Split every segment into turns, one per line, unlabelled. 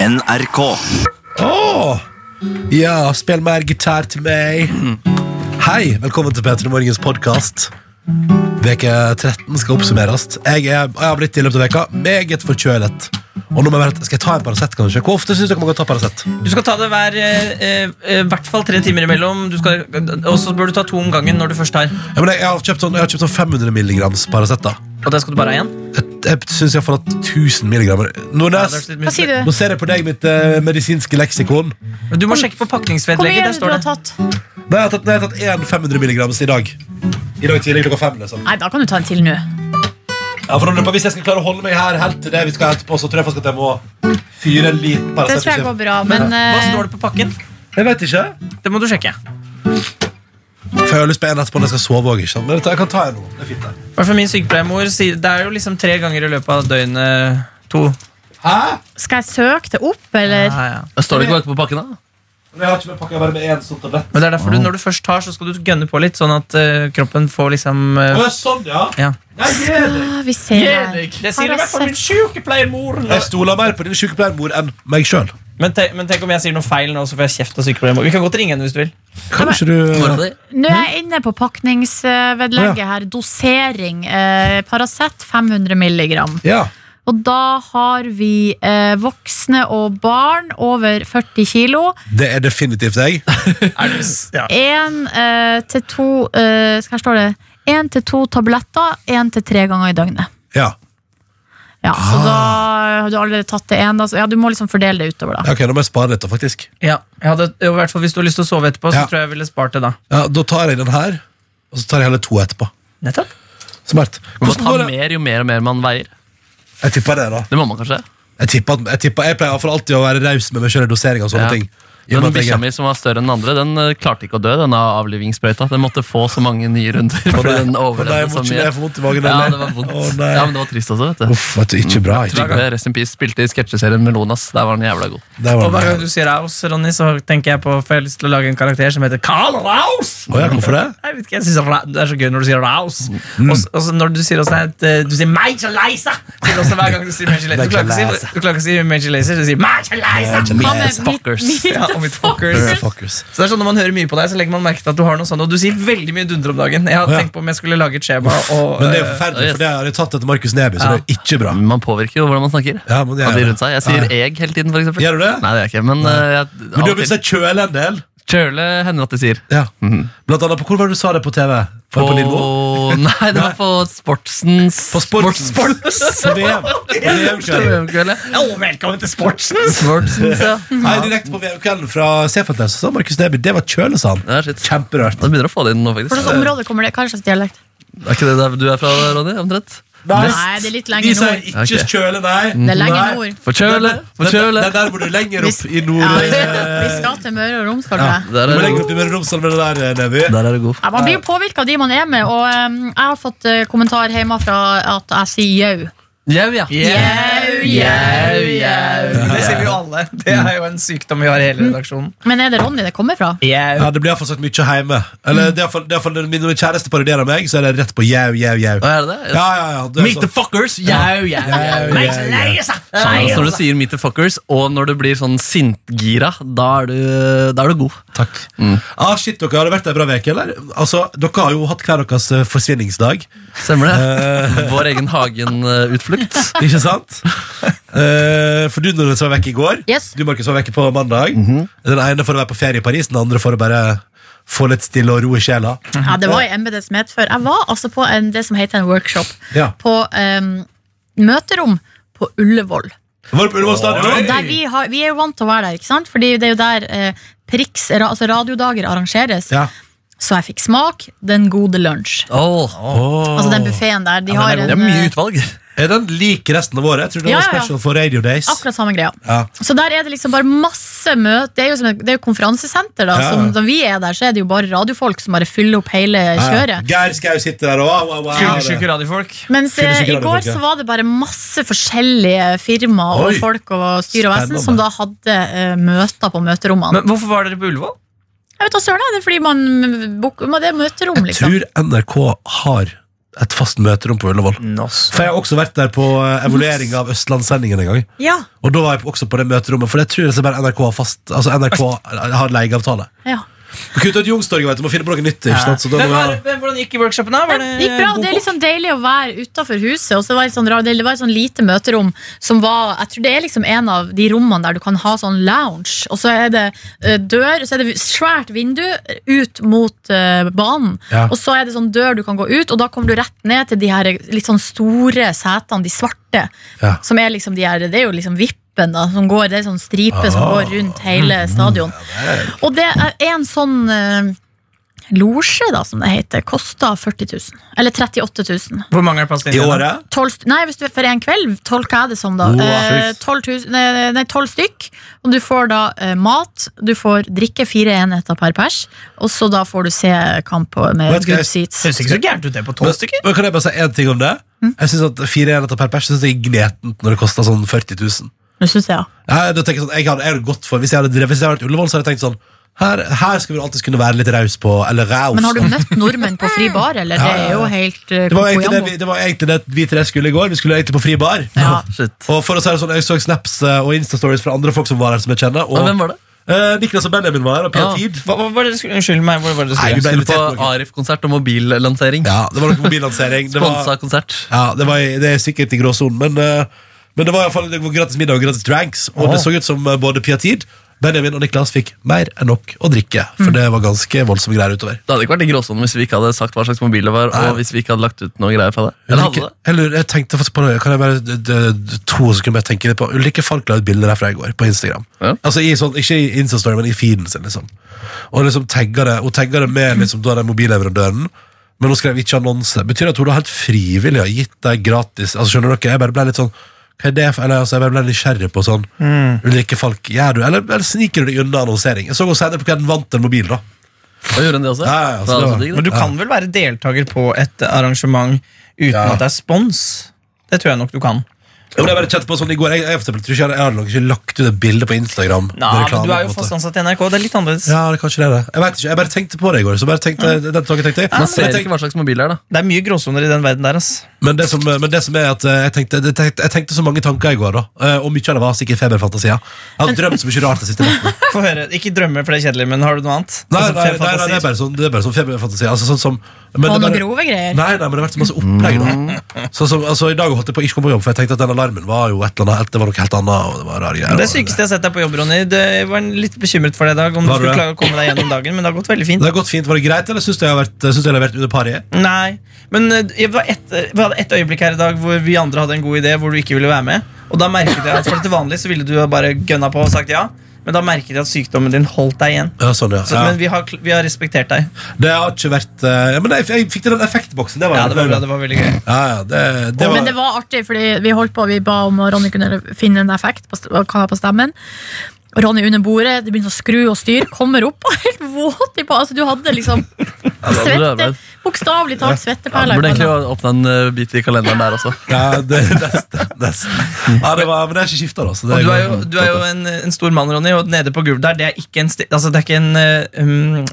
NRK.
Åh! Ja, spill mer gitar til meg. Hei, velkommen til P3 Morgens podkast. Veke 13 skal oppsummeres. Jeg, er, jeg har blitt i løpet av veka meget forkjølet. Og nå må jeg være, skal jeg ta en Paracet, kanskje? Hvor ofte syns dere man kan ta Paracet?
Du skal ta det hver eh, eh, hvert fall tre timer imellom. Du skal- Og så bør du ta to om gangen når du først tar.
Ja, men jeg, jeg har kjøpt sånn, jeg har kjøpt sånn 500 milligrams Paracet. da.
Og det skal du bare ha igjen?
Jeg, jeg syns iallfall at 1000 milligram
Ja,
Nordnes,
det er litt
Hva
mye.
sier du?
nå ser jeg på deg mitt eh, medisinske leksikon.
Men Du må sjekke på
Hvor mye
pakningsvedlegget.
er
Der
det du
står
har
det.
tatt?
Nei, jeg har tatt, nei, jeg har tatt én 500 milligrams i dag. I dag tidlig klokka fem. liksom
Nei, da kan du ta en til nå.
Ja, for nå lurer jeg på, Hvis jeg skal klare å holde meg her helt til det vi skal helt på, så tror jeg faktisk at jeg må fyre en liten
Det tror jeg går
Paracet.
bra, men
Men hva
eh,
står det på pakken?
Jeg vet ikke.
Det må du sjekke.
For jeg har lyst på en etterpå når jeg skal sove òg. Men dette- jeg kan ta en nå. Det er fint, det.
Hvert fall min sykepleiermor sier Det er jo liksom tre ganger i løpet av døgnet to.
Hæ?
skal jeg søke det opp, eller?
Ja, ja.
Da står det ikke bare på pakken, da.
Men Jeg har ikke med pakke, jeg har bare med én sånn tablett.
Men det er derfor du, når du først tar, så skal du gønne på litt, sånn at eh, kroppen får liksom eh,
Å, ja, sånn, ja.
Ja.
Nei, Erik.
Ah, vi ser her.
Det sier i hvert fall min sykepleiermor.
Jeg stoler mer på din sykepleiermor enn meg sjøl.
Men, te, men tenk om jeg sier noe feil nå, så får jeg kjeft av sykepleiermor. Vi kan godt ringe henne hvis du vil.
Kanskje du
Hvorfor det?
Nå er jeg inne på pakningsvedlegget her. Dosering. Eh, Paracet 500 milligram.
Ja.
Og da har vi eh, voksne og barn over 40 kilo.
Det er definitivt jeg.
Én eh, til to eh, Her står det én til to tabletter én til tre ganger i døgnet.
Ja.
Ja, Så da har du allerede tatt det ene. Altså, ja, du må liksom fordele det utover, da.
Ok, nå må jeg spare litt, da, faktisk.
Ja, jeg hadde, i hvert fall Hvis du har lyst til å sove etterpå, så
Ja.
tror jeg jeg ville spart det da.
Ja, Da tar jeg den her, og så tar jeg heller to etterpå.
Nettopp.
Smart.
Man må
Hvordan
ta
går det?
mer jo mer og mer man veier.
Jeg tipper det, da.
Det må man kanskje.
Jeg, tipper, at- jeg, tipper, jeg pleier i hvert fall alltid å være raus med meg sjøl i dosering av sånne
Ja.
ting. I og
Den
med at jeg-
bikkja mi som var større enn den andre, den eh, klarte ikke å dø. Denne avlivingssprøyta. Den måtte få så mange nye runder. Fordi
nei. Å
den
nei,
overlevde
må
så
ikke
mye.
det, jeg får vondt i magen,
ja,
eller?
det var vondt.
Å, nei.
ja, men det var trist også, vet du.
Uff, vet du, ikke bra. Ikke
Hver
bra.
gang Rest in Peace spilte i sketsjeserien med Lonas. Der var den jævla god.
Der var
Og hver gang
den.
du sier Raus, Ronny, så tenker jeg på For jeg har lyst til å lage en karakter som heter Carl Raus!
Å ja, hvorfor det?
Jeg vet ikke, jeg synes ra- Det er så gøy når du sier Raus.
Mm.
Og så- og så når du sier også at eh, Du sier Major Leisa! Sier du også Hver gang du sier Major Leisa. Du klarer ikke å si- du klarer ikke å si Major Leisa, du sier Major Leisa!
Hva med
Yes, fuckers.
mitt- mitt-
Ja, og mitt fuckers.
Fuckers.
Så det er sånn Når man hører mye på deg, så legger man merke til at du har noe sånt. Og du sier veldig mye dunder om dagen. Jeg har
Ja.
tenkt på om jeg skulle lage et skjema. Og,
Men det er jo
eh,
forferdelig, for det har jeg tatt etter Markus Neby, så det er jo ikke bra.
Man påvirker jo hvordan man snakker.
Ja, men det
Av
gjør
de
det.
rundt seg. Jeg sier
Ja.
eg hele tiden, for eksempel.
Gjør du det?
Nei, det gjør jeg ikke. Men eh, jeg,
Men du
av
har
og
begynt
til
å kjøle en del.
kjøle hender at de sier.
Ja. Blant annet på hvor var det du sa det på TV? På, på Lindmo?
Nei, det var på Sportsens
På Sports.
Sports.
VM. VM-kveld.
VM-kveld, ja.
Å, velkommen til sportsen!
Sportsens, ja.
Nei, direkte på VM-kvelden fra Sefatnes sa Markus Neby det var kjøle, sa han.
Ja, shit.
Kjemperørt.
Du begynner å få det inn nå,
Hva slags
faktisk.
område kommer det? Hva slags dialekt?
Er ikke det der du er fra, Ronny? Omtrent?
Nei, det er litt
Vi
lenger
sier
nord.
ikke
Ok.
kjøle, nei.
Det er lenger
Nei.
nord.
Forkjøle!
Den der-
Forkjøle!
Den der må du lenger opp i nord.
Ja, vi,
eh,
vi skal til Møre og Romsdal. tror
Ja,
jeg.
du
Der
må
er
lenger
du
opp i Møre og Romsdal med det der, eh, Neby.
Der er du god.
Ja, man blir jo påvirka av de man er med, og um, jeg har fått eh, kommentar hjemmefra at jeg sier jau.
Jau, ja.
Jau, jau, jau.
Det sier vi jo alle. Det er jo en sykdom vi har i hele redaksjonen.
Men er det Ronny det kommer fra?
Ja, det blir iallfall sagt mye hjemme. Eller det er for, det er for, når min kjæreste parodierer meg, så er det rett på jau, jau, jau.
Hva er det?
Ja, ja, ja. det er
Meet
sånn.
the fuckers! Jau, jau, jau.
Jau, jau, jau.
Så altså. når du sier meet the fuckers, og når du blir sånn sintgira, da er du, da er du god.
Takk. Ah, shit, dere har det vært ei bra uke, eller? Altså, dere har jo hatt hver deres eh, forsvinningsdag,
Stemmer det? Vår egen Hagen-utflukt.
ikke sant? Eh, for du, Nordnes, var vekk i går.
Yes.
Du, Markus, var vekk på mandag. Den ene for å være på ferie i Paris, den andre for å bare få litt stille og ro i sjela.
Ja, det var i embetets medfør. Jeg var altså på en, det som heter en workshop,
Ja.
på um, møterom på Ullevål.
Var det på Ullevål
Og
stadion?
Der vi, har, vi er jo vant til å være der, ikke sant? Fordi det er jo der eh, Prix, ra- altså radiodager arrangeres.
Ja.
Så jeg fikk smak den gode lunsj.
Åh,
Altså den buffeen der. De har
det er
en,
mye
eh,
utvalg.
Er den lik resten av året? Jeg trodde det
Ja,
var
ja, ja.
special for Radio Days.
eh, akkurat samme greia.
Ja.
Så der er det liksom bare masse møt Det er jo, som et, det er jo konferansesenter da
Ja.
Som, Når vi er der så er det jo bare radiofolk Som bare fyller opp hele
Ja.
kjøret
Geir Skau sitter der og wow, wow, wow.
Fyllesyke radiofolk.
Mens
Fyller
eh,
ikke
i går
radiofolk, ja.
så var det bare masse forskjellige firma Og
Oi.
folk og styr og vesen
Spennende.
Som da hadde eh, møter på møterommene
Men hvorfor var dere på Ullevål?
Jeg vet da søren jeg, det er fordi man, bok- men Det er møterom
Jeg
liksom
tror NRK har et fast møterom på Ullevål.
Mm.
Nos.
For jeg har også vært der på eh, evaluering av Østlandssendingen en gang.
Ja.
Og da var jeg også på det møterommet, for det tror jeg det er bare NRK har fast Altså NRK har leieavtale.
Ja.
Du kutter ut Youngstorget, vet du, må finne på noe nytt. ikke sant? Så da
Hvem
må
var,
jeg...
hvem, hvordan gikk workshopen, da? Var det liksom-
Det gikk bra. og Det er litt sånn deilig å være utafor huset. Og så var det, sånn, rar- det var et sånn lite møterom som var Jeg tror det er liksom en av de rommene der du kan ha sånn lounge. Og så er det eh, dør, så er det svært vindu ut mot eh, banen.
Ja.
Og så er det sånn dør du kan gå ut, og da kommer du rett ned til de her litt sånn store setene, de svarte.
Ja.
Som er liksom de her, det er jo liksom vippen, da. Som går, det er sånn stripe som
Ah.
går rundt hele stadion. Og det er en sånn eh, Losje, da, som det heter, koster 40 000. Eller 38 000.
Hvor mange har passet inn?
I
den, da?
året?
12, st- nei, hvis du, for en kveld tolker jeg det som, da.
Wow.
Eh, 12, 000, nei, nei, 12 stykk. Og du får da eh, mat, du får drikke fire enheter per pers, og så da får du se kamp på- med
Vet du hva,
good seats.
Høres ikke så gærent ut, det, på tolv
Men,
stykker.
men kan jeg bare si én ting om det?
Mm.
Jeg synes at Fire enheter per pers synes jeg er gnetent når det koster sånn 40 000.
Det synes jeg, ja.
Jeg, da tenker jeg sånn, jeg hadde, jeg hadde gått for, hvis jeg hadde, drevet- hvis jeg hadde vært Ullevål, så hadde jeg tenkt sånn Her, her skal vi alltid kunne være litt raus på Eller raus.
Men har du møtt nordmenn på fri bar, eller? Det er jo helt eh,
Det var, egentlig det,
kokoyambo.
vi, det var egentlig det vi tre skulle i går. Vi skulle egentlig på fri bar.
Ja.
Shit.
Og for å si det sånn, Jeg så snaps eh, og Insta-stories fra andre folk som var her, som jeg kjenner. Og,
Og hvem var det?
Eh, Niklas og Benjamin var her. Og
Ja.
Per Tid.
Hva, hva var det dere skulle, unnskyld meg, hvor var det dere
Nei, vi ble
skulle?
Skulle på
invitert på noe.
Arif-konsert og mobillansering.
Ja, det var noe mobillansering. Det var,
Sponsa konsert.
ja, det, var, i- det er sikkert i gråsonen, men, eh, men det var i hvert fall det var gratis middag og gratis dranks. Og det så ut som eh, både Pia Tid, Benjamin og Niklas fikk mer enn nok å drikke.
Mm.
For det var ganske voldsomme greier utover.
Det hadde ikke vært i gråsonen hvis vi ikke hadde sagt hva slags mobil det var.
Nei.
Og hvis vi ikke hadde lagt ut noe greier fra det. Eller hadde
Ulrikke,
det?
jeg, lurer, jeg tenkte faktisk på det Kan jeg bare d- d- d- to sekunder bare tenke litt på Ulrikke Falk la ut bilder derfra i går på Instagram
Ja.
Altså i sånn, ikke i Insta-story, men i feeden sin liksom Og liksom tagga det Hun tagga det med liksom da den mobilleverandøren Men hun skrev ikke annonse Betyr det at hun da helt frivillig har gitt deg gratis Altså skjønner dere, jeg bare ble litt sånn Hva er det for, eller altså jeg bare ble nysgjerrig på sånn
Mm.
Ulrikke Falk, gjør du Eller, eller sniker du deg unna annonsering Jeg så hun senere på hva den vant en mobil da
Og gjorde hun det også?
Ja, ja, så
det
det
var
var-
så digg,
Men
det.
du kan vel være deltaker på et arrangement uten
Ja.
at det er spons? Det tror jeg nok du kan.
Jo, men jeg bare kjente på sånn i går Jeg, jeg, for eksempel tror ikke jeg, hadde- jeg hadde nok ikke lagt ut et bilde på Instagram
Nei,
med reklame,
men du er
på
jo
en måte.
fast ansatt i NRK. Det er litt annerledes.
Ja, det er kanskje det, det. Jeg vet ikke, jeg bare tenkte på det i går. Så bare tenkte, den tanken tenkte jeg.
Man
Men, jeg
ser ikke
tenkte,
hva slags mobil det er, da.
Det er mye gråsoner i den verden der. ass
men, det, som, men det som er at eh, jeg tenkte, det tenkte, jeg tenkte så mange tanker i går, da. Eh, Og mye av det var sikkert feberfantasier. Jeg hadde drømt så mye rart den siste natten.
Få høre. Ikke drømmer, for det er kjedelig, men har du noe annet?
Nei,
Altså,
nei, nei, nei,
fe-
det er
fantasier.
bare sånn, det er bare sånn feberfantasier. Altså, sånn som men det er
Og noen
bare-
grove greier.
Nei, nei, men det har vært så masse opplegg. da Sånn som, altså I dag holdt jeg på å ikke komme på jobb, for jeg tenkte at den alarmen var jo et eller annet Det var noe helt annet. Og det var rare greier
Det
og-
sykeste jeg har sett deg på jobb, Ronny. Det jeg var litt bekymret for deg i dag. Om du
Var du
skulle
det?
klare å komme deg gjennom dagen, men det har gått veldig
Det
fint.
har gått fint. Var det greit, eller syns du jeg har vært, synes du jeg har levert under pariet?
Nei, men eh, jeg var et, Vi hadde et øyeblikk her i dag hvor vi andre hadde en god idé hvor du ikke ville være med. Og da merket jeg at for til vanlig så ville du bare gønna på og sagt ja, men da merket jeg at sykdommen din holdt deg igjen.
Ja, sånn, ja.
Så,
ja.
Men vi har, kl- vi har respektert deg.
Det har ikke vært eh, ja, Men jeg, jeg fikk til den effektboksen. Det var
Ja,
jeg
det var
fornøyd
bra,
med.
det var veldig gøy.
Ja, ja, det, det var,
Men det var artig, fordi vi holdt på, vi ba om at Ronny kunne finne en effekt på, st- hva på stemmen. Og Ronny under bordet, det begynner å skru og styre, kommer opp og er helt våt i på. Altså, du hadde liksom
Ja, det var bra
svette,
arbeid.
bokstavelig talt
Ja, du
svetteperler.
burde
i panna.
egentlig åpne en eh, bit i kalenderen der også.
ja, det, nesten, nesten. Ja, det var, men det er ikke skifta, da. Så det
Og du er jo, du er jo en, en stor mann, Ronny, og nede på gulvet der, det er ikke en sti... Altså, det er ikke en eh, um,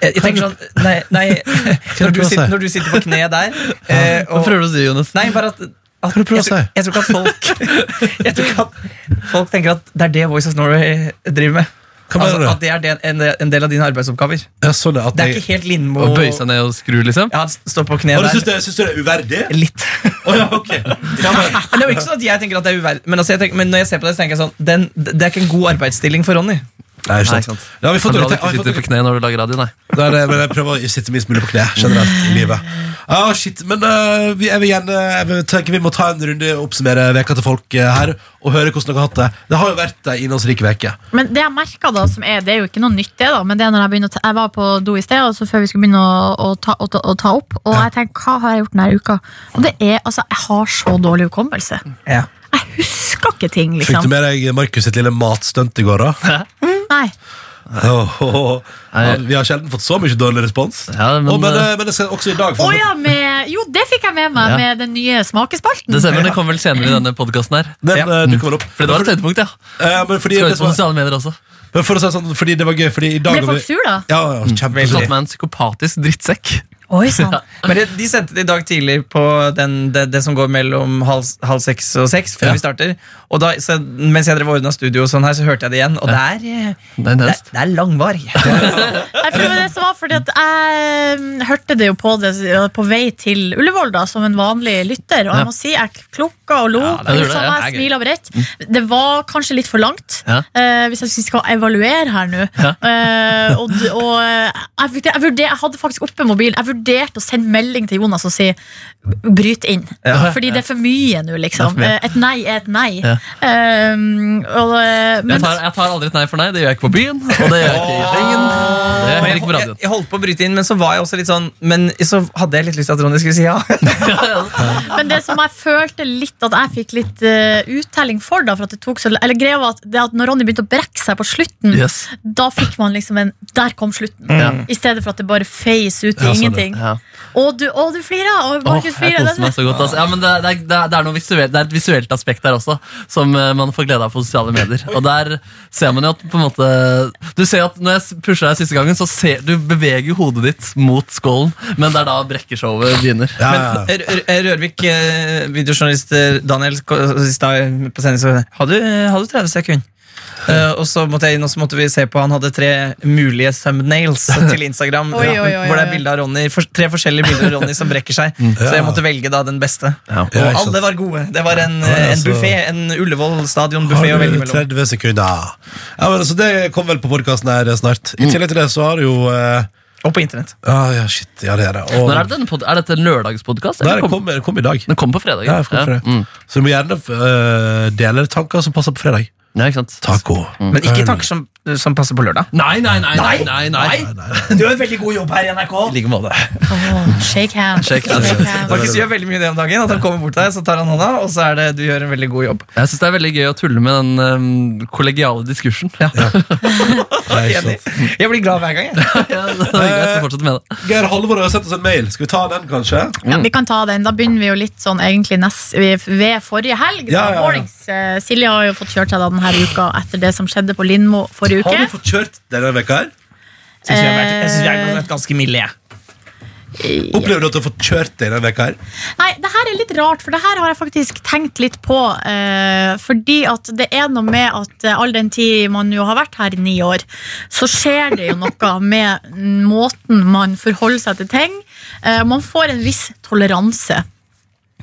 jeg jeg tenker sånn Nei, nei når,
prøve
du
å
sitter,
si?
når du sitter på kne der eh,
Hva prøver du å si, Jonas?
Nei, bare at, at
du prøve å
jeg,
si?
tror- jeg tror ikke at folk Jeg tror ikke at folk tenker at det er det Voice of Norway driver med.
Hva mener
Altså,
du?
at det er det, en, en del av dine arbeidsoppgaver.
ja, sånn at
Det er
jeg-
ikke helt Lindmo
Å bøye seg ned og skru, liksom?
Ja, stå på kne
Å, du syns
der.
det, syns du det er uverdig?
Litt.
Å ja, ok. Ja, men,
Men Det er jo ikke sånn at jeg tenker at det er uverdig, men, altså, jeg tenker, men når jeg ser på det, så tenker jeg sånn den, Det er ikke en god arbeidsstilling for Ronny.
nei,
Nei,
ikke
ikke
sant.
sant.
Ja, har vi
Kan
fått
du
noe
aldri
har vi
ikke sitte
fått-
på kne når du lager radio, nei.
Nei, nei, men jeg prøver å sitte minst mulig på kne generelt i livet. Ja, shit, men eh, vi, jeg vil gjerne jeg vil tenke Vi må ta en runde og oppsummere veka til folk eh, her. Og høre hvordan dere har hatt det. Det har jo vært ei innholdsrik veke
Men det jeg merket da, som er, det er jo ikke noe nytt det da, men det er når jeg begynner å ta, jeg var på do i sted, og så før vi skulle begynne å, å, ta, å, ta- å ta opp, og jeg tenker, hva har jeg gjort denne uka? Og det er, altså, jeg har så dårlig hukommelse.
Ja.
Jeg husker ikke ting,
Fikk
liksom.
du med deg Markus sitt lille matstunt i går, da?
Nei.
Åh, åh, åh. Ja, vi har sjelden fått så mye dårlig respons.
Ja, men,
Åh, men,
eh,
eh, men det skal også i dag få-
Å ja, med, jo, det fikk jeg med meg
Ja.
med den nye smakespalten.
Det stemmer, det kommer vel senere i denne podkasten her.
Den
Ja.
eh, dukker vel opp.
Fordi det var et høydepunkt, ja.
Eh, men fordi,
Skal
det
ut på
som var,
sosiale medier også.
men for å si det sånn, fordi det var gøy, fordi i dag
Ble folk sur da?
Ja, ja, kjempe-
Tatt med en psykopatisk drittsekk.
Oi sann.
Men det, de sendte det i dag tidlig på den, det, det som går mellom halv, halv seks og seks. Før
Ja.
vi starter Og da, så, Mens jeg drev og ordna studio, og sånn her så hørte jeg det igjen. Og det er, eh, det,
Det er intenst.
er- det er langvarig.
Nei, for det var det som var fordi at jeg mm, hørte det jo på det ja, på vei til Ullevål da, som en vanlig lytter, og
Ja.
jeg må si jeg klukka og lo.
Ja, det gjorde det,
liksom,
ja.
jeg smilet bredt. Det var kanskje litt for langt,
Mm. Ja.
eh, hvis jeg skal evaluere her nå. Eh, og d- og eh, jeg, vurder- jeg, vurder- jeg hadde faktisk oppe mobilen. Jeg vurderte å sende melding til Jonas og si bryt inn.
Ja.
Fordi det er for mye nå, liksom.
Det er for mye.
Eh, Et nei er et nei.
Ja.
Eh, og, eh, men,
Jeg tar, jeg tar aldri et nei for nei. Det gjør jeg ikke på byen. Og det gjør jeg ikke i ringen. Det gjør jeg
Eh,
Og
heller
jeg,
ikke på
jeg,
radioen.
jeg holdt på å bryte inn, men så var jeg også litt sånn Men så hadde jeg litt lyst til at Ronny skulle si ja.
Men det som jeg følte litt at jeg fikk litt eh, uttelling for, da, for at det tok så l- Eller greia var at, det at når Ronny begynte å brekke seg på slutten,
Yes.
da fikk man liksom en Der kom slutten!
Ja.
I stedet for at det bare feis ut i
Ja, sånn,
ingenting.
Ja.
Å, du, å, du flirer! Og
Åh,
Markus
jeg
flirer!
koser meg
Det-
så godt. Altså. Ja, men det, det, er- det, er- det, er noe visuelt, det er et visuelt aspekt der også, som eh, man får glede av på sosiale medier. Og der ser man jo at på en måte Du ser at når jeg pusher deg siste gangen, så ser du beveger hodet ditt mot skålen, men det er da brekkeshowet begynner.
Ja, ja.
Men R- R- eh, Rørvik, eh, videojournalist eh, Daniel, ko- i stad eh, på sending så har du, har du 30 sekunder. Eh, og så måtte jeg inn, og så måtte vi se på Han hadde tre mulige thumbnails til Instagram.
Oi, oi, oi,
hvor det er
oi.
bilde av Ronny for, tre forskjellige bilder av Ronny som brekker seg. Så jeg måtte velge da den beste. Og
Mm. Ja, ikke sant.
alle var gode. Det var en,
Ja, ja,
en
så-
buffé. En Ullevål stadion-buffé å
Har
velge
du
mellom.
30 sekunder? Ja, men altså, det kom vel på podkasten her snart. I tillegg til det så har du jo eh,
Og på internett.
ah, Ja, shit. Ja, det er det. Og,
Når er, det denne pod er dette en lørdagspodkast?
Nei,
eller
det
kom-
kom, det kom i dag.
Den kommer på fredag.
Ja, jeg kom for det.
Mm.
Så du må gjerne eh, dele tanker som passer på fredag. Mm.
ja ikke sant?
Taco.
Men ikke
Øl.
tanker som, som passer på lørdag.
Nei, nei, nei! nei, nei, nei.
Du gjør en veldig god jobb her i NRK.
I like måte.
Å, shake hands.
Shake hands.
Markus gjør veldig mye det om dagen. At han kommer bort til deg, så tar han hånda, og så er det du gjør en veldig god jobb.
Jeg syns det er veldig gøy å tulle med den ehm, kollegiale diskursen. Ja.
Nei, ikke
Enig.
sant.
Jeg blir glad hver gang. Jeg.
det er hyggelig, jeg skal fortsette med det.
Geir Halvor har sendt oss en mail. Skal vi ta den, kanskje?
Ja, vi kan ta den. Da begynner vi jo litt sånn egentlig nest, ved ved forrige helg. Da,
Ja, ja, ja.
Mornings. Eh, Silje har jo fått kjørt seg da denne uka etter det som skjedde på Lindmo forrige uke.
Har du fått kjørt denne veka her?
Synes jeg, har vært- jeg synes jeg har vært ganske milde, jeg.
Opplever du at du har fått kjørt deg denne veka her?
Nei, det her er litt rart, for det her har jeg faktisk tenkt litt på. Eh, fordi at det er noe med at eh, all den tid man jo har vært her i ni år, så skjer det jo noe med måten man forholder seg til ting. Eh, man får en viss toleranse.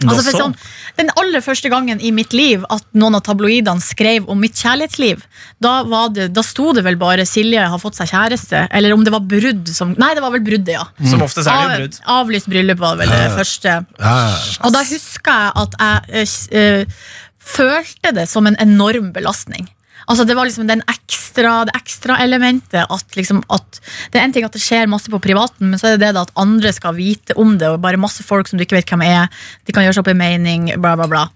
Altså for sånn, den aller første gangen i mitt liv at noen av tabloidene skrev om mitt kjærlighetsliv, da, var det, da sto det vel bare 'Silje har fått seg kjæreste', eller om det var brudd som Nei, det var vel bruddet, ja.
Som oftest er Mm,
Ah,
det jo brudd.
Av, avlyst bryllup var vel det første.
Ah.
Og da husker jeg at jeg eh, s- eh, følte det som en enorm belastning. Altså Det var liksom den ekstra, det ekstra elementet at, liksom, at Det er en ting at det skjer masse på privaten, men så er det det da at andre skal vite om det. Og bare masse folk som du ikke vet hvem er. De kan gjøre seg opp en mening. Bla, bla, bla.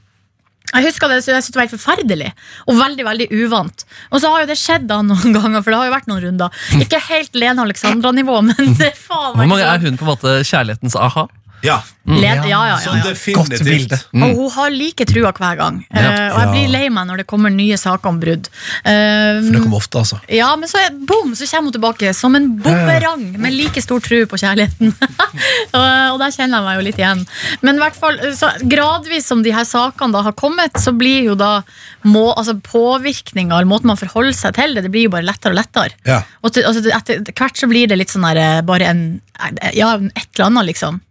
Jeg husker det, så jeg synes det var helt forferdelig og veldig veldig uvant. Og så har jo det skjedd da noen ganger, for det har jo vært noen runder. Ikke helt Lene Alexandra-nivå, men det er faen
Hvor
meg
mange er
sånn.
hun på en måte kjærlighetens aha?
Ja.
Led- ja, ja, ja,
Sånn
ja.
Godt bilde.
definitivt.
Og hun har like trua hver gang. Eh,
Ja.
og jeg blir
Mm. Ja.
lei meg når det kommer nye saker om brudd. Eh,
For det kommer ofte, altså.
ja, men så er, boom, så kommer hun tilbake som en bumerang med like stor tru på kjærligheten. og, og der kjenner jeg meg jo litt igjen. Men i hvert fall, eh, så gradvis som de her sakene da har kommet, så blir jo da må, altså påvirkninga, eller måten man forholder seg til det, det blir jo bare lettere og lettere.
Ja.
Og til, altså, etter etter hvert så blir det litt sånn der, eh, bare en, eh, ja, et eller annet, liksom.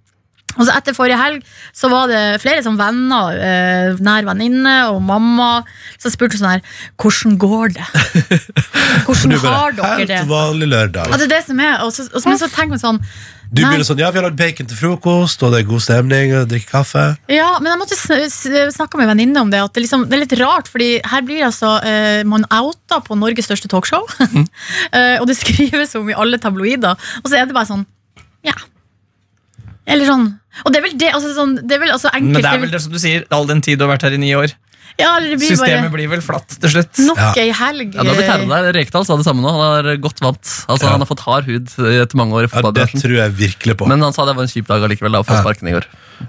Og så etter forrige helg så var det flere sånn venner, eh, nær venninne og mamma, som spurte sånn her Hvordan går det? Hvordan
Du
har
bare
dere det?
Helt vanlig lørdag.
Ja, det er det som er, og så, og så, men så tenker man sånn
Du
Nei.
begynner sånn, ja, vi har lagd bacon til frokost, og det er god stemning, og drikker kaffe.
Ja, men jeg måtte sn- s- snakke med en venninne om det. At det, liksom, det er litt rart, fordi her blir altså eh, man outa på Norges største talkshow.
Mm.
eh, og det skrives om i alle tabloider. Og så er det bare sånn Ja. Eller sånn. Og det er vel det, altså, sånn, det er vel, altså enkelt
Men det er vel det som du sier, all den tid du har vært her i ni år.
ja, eller det blir
Systemet
bare
blir vel flatt til slutt.
nok
Ja.
ei helg. eh,
Ja, det har blitt herre der. Rekdal sa det samme nå. Han er godt vant. Altså,
Ja.
Han har fått hard hud eh, etter mange år i
Ja, det
fotballbransjen.
tror jeg virkelig på.
Men han sa det var en kjip dag allikevel. Da, å få
Ja.
sparken i går.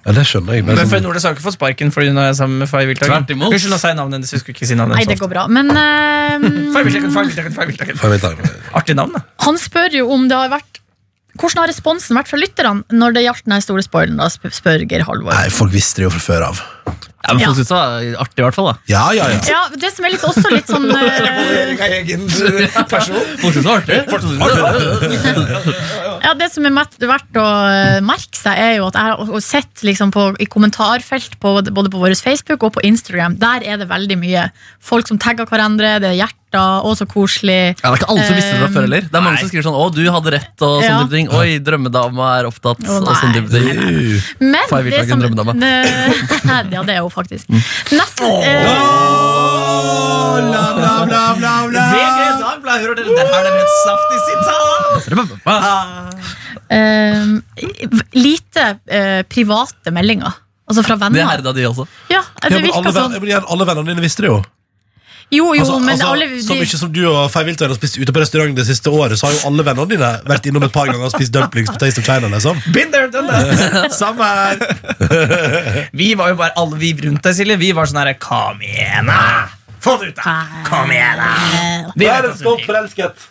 Ja, det skjønner jeg. men-
Men for Nordnes har jo ikke fått sparken fordi hun er sammen med Fay Wiltagen.
Tvert imot.
Unnskyld, nå sa jeg navnet hennes. Jeg skulle ikke si navnet
Nei, det
hennes.
går bra. Men eh,
Fay Wiltagen, Fay Wiltagen, Fay Wiltagen.
Får jeg vente?
Artig navn, da.
han spør jo om det har vært Hvordan har responsen vært fra lytterne når det gjaldt den her store spoileren? da, sp- spør Geir Halvor.
Nei, folk visste det jo fra før av.
Ja, men
Ja.
Folk synes det var artig, i hvert fall. da
Ja, ja, ja.
Ja, det som er litt, også litt sånn eh,
Folk synes det var artig. Folk synes det var artig.
Ja, Det som er mett- verdt å eh, merke seg, er jo at jeg har også sett liksom på, i kommentarfelt på, både på vår Facebook og på Instagram, der er det veldig mye folk som tagger hverandre, det er hjerter, og så koselig.
Ja, det er ikke alle som visste det fra før heller. Det er mange som skriver sånn 'Å, du hadde rett', og sånne
Ja.
type ting. 'Oi, drømmedama er opptatt',
Å,
og
nei.
sånne type ting.
Uh.
Men
Fay
det
Wilhagen,
som
drømmedama.
Ne- Ja, det er hun faktisk.
Mm.
Nesten eh,
Åh, la, la, la, la,
sånn.
la.
hører dere det her er et saftig sitat!
eh, Lite eh, private meldinger. Altså fra
Det
venner.
herda de også.
Ja,
Ja,
det
men alle,
virker
ven-
sånn.
men igjen, alle vennene dine visste det jo.
Jo, jo,
Altså,
men
altså,
alle
så
de,
mye som du og Fei Wiltøyen har spist ute på restaurant det siste året, så har jo alle vennene dine vært innom et par ganger og spist dumplings på Taste of China. liksom
Been there, done that.
Samme her!
Vi var jo bare alle vi rundt deg, Silje. Vi var sånn herre Kom igjen, da! Få det ut, da! Kom igjen, da! Vi vet
Vær
at du
stolt
vil.
forelsket!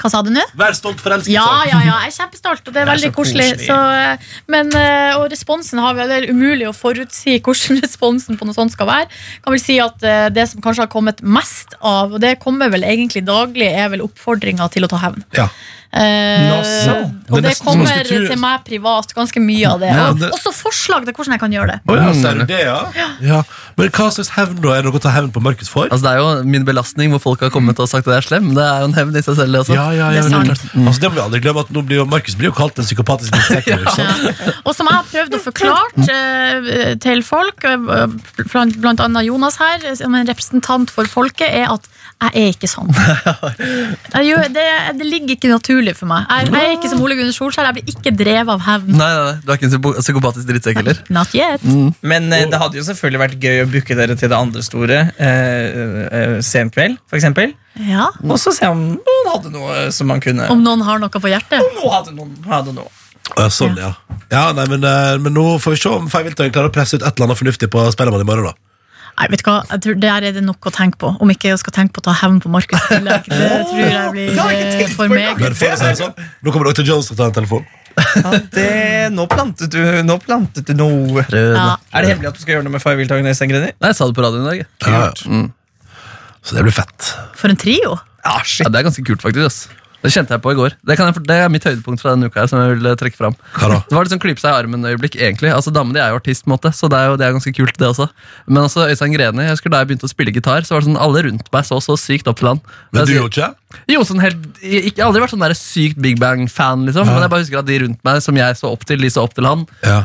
Hva sa du nå?
Vær stolt forelsket
Ja,
sa jeg.
ja, ja, jeg er kjempestolt, og det er
Det er
veldig
så
koselig.
koselig.
Så, eh, men, eh, og responsen har vel det er umulig å forutsi hvordan responsen på noe sånt skal være. Kan vel si at eh, Det som kanskje har kommet mest av, og det kommer vel egentlig daglig, er vel oppfordringa til å ta hevn.
Ja.
Eh,
Nå så.
og
Det er
det
nesten som man
kommer
skulle tro-
til meg privat, ganske mye av det.
Ja,
Og
det-
også forslag til hvordan jeg kan gjøre det.
Å ja,
Mm.
ser du det, ja? Mm. ja. Men hva slags hevn, da? Er det noe å ta hevn på Markus for?
Altså, det er jo min belastning hvor folk har kommet og sagt at jeg er slem. Det er jo en hevn i seg selv. det Også.
Ja, ja, ja,
Det er
men-
sant.
Altså, det må vi aldri glemme at nå blir jo Markus blir jo kalt en psykopatisk insekter. ikke sant?
Og som jeg har prøvd å forklare eh, til folk, eh, blant, blant annet Jonas her, som en representant for folket, er at jeg er ikke sånn. Jeg gjør, det, det ligger ikke naturlig for meg. Jeg, jeg er ikke som Ole Gunnar Solskjær, jeg blir ikke drevet av hevn.
Nei, nei, nei, du er ikke en psyko- psykopatisk drittsekk heller.
Not yet.
Men eh, det hadde jo selvfølgelig vært gøy å booke dere til det andre store eh, eh, senkveld, for eksempel.
Ja.
Og så se om noen hadde noe eh, som man kunne
Om noen har noe på hjertet.
Nå hadde noen hadde noe.
Å, ja, sånn, ja. ja nei, men, eh, men nå får vi se om Fei Wiltøyen klarer å presse ut et eller annet fornuftig på Spellemann i morgen. da
Nei, vet du hva, jeg tror Der er det nok å tenke på. Om ikke jeg skal tenke på å ta hevn på Markus. i tillegg. Det tror jeg blir eh, for meg.
Men for å si det sånn, nå kommer Dr. Jones til å ta en telefon.
Ja, det, nå, plantet du, nå plantet du noe.
Ja.
Er det hemmelig at du skal gjøre noe med Firewill-tagen? Ja,
Nei, jeg sa det på radioen i dag. jeg.
Ja, ja.
Mm.
Så det blir fett.
For en trio.
Ja,
Ah, shit.
det er ganske kult, faktisk. ass. Det kjente jeg på i går. Det, kan jeg, for- det er mitt høydepunkt fra denne uka her, som jeg vil eh, trekke fram.
Hva da?
Det var litt sånn klype seg i armen øyeblikk, egentlig. Altså, Damene de er jo artist, på en måte, så det er jo det er ganske kult, det også. Men altså, Øystein Greni, jeg husker da jeg begynte å spille gitar, så var det sånn alle rundt meg så så sykt opp til han.
Men du
Jeg sier-
gjorde ikke?
Jo, sånn helt, jeg, ikke- jeg har aldri vært sånn der sykt Big Bang-fan, liksom, men jeg bare husker at de rundt meg som jeg så opp til, de så opp til han.
Ja.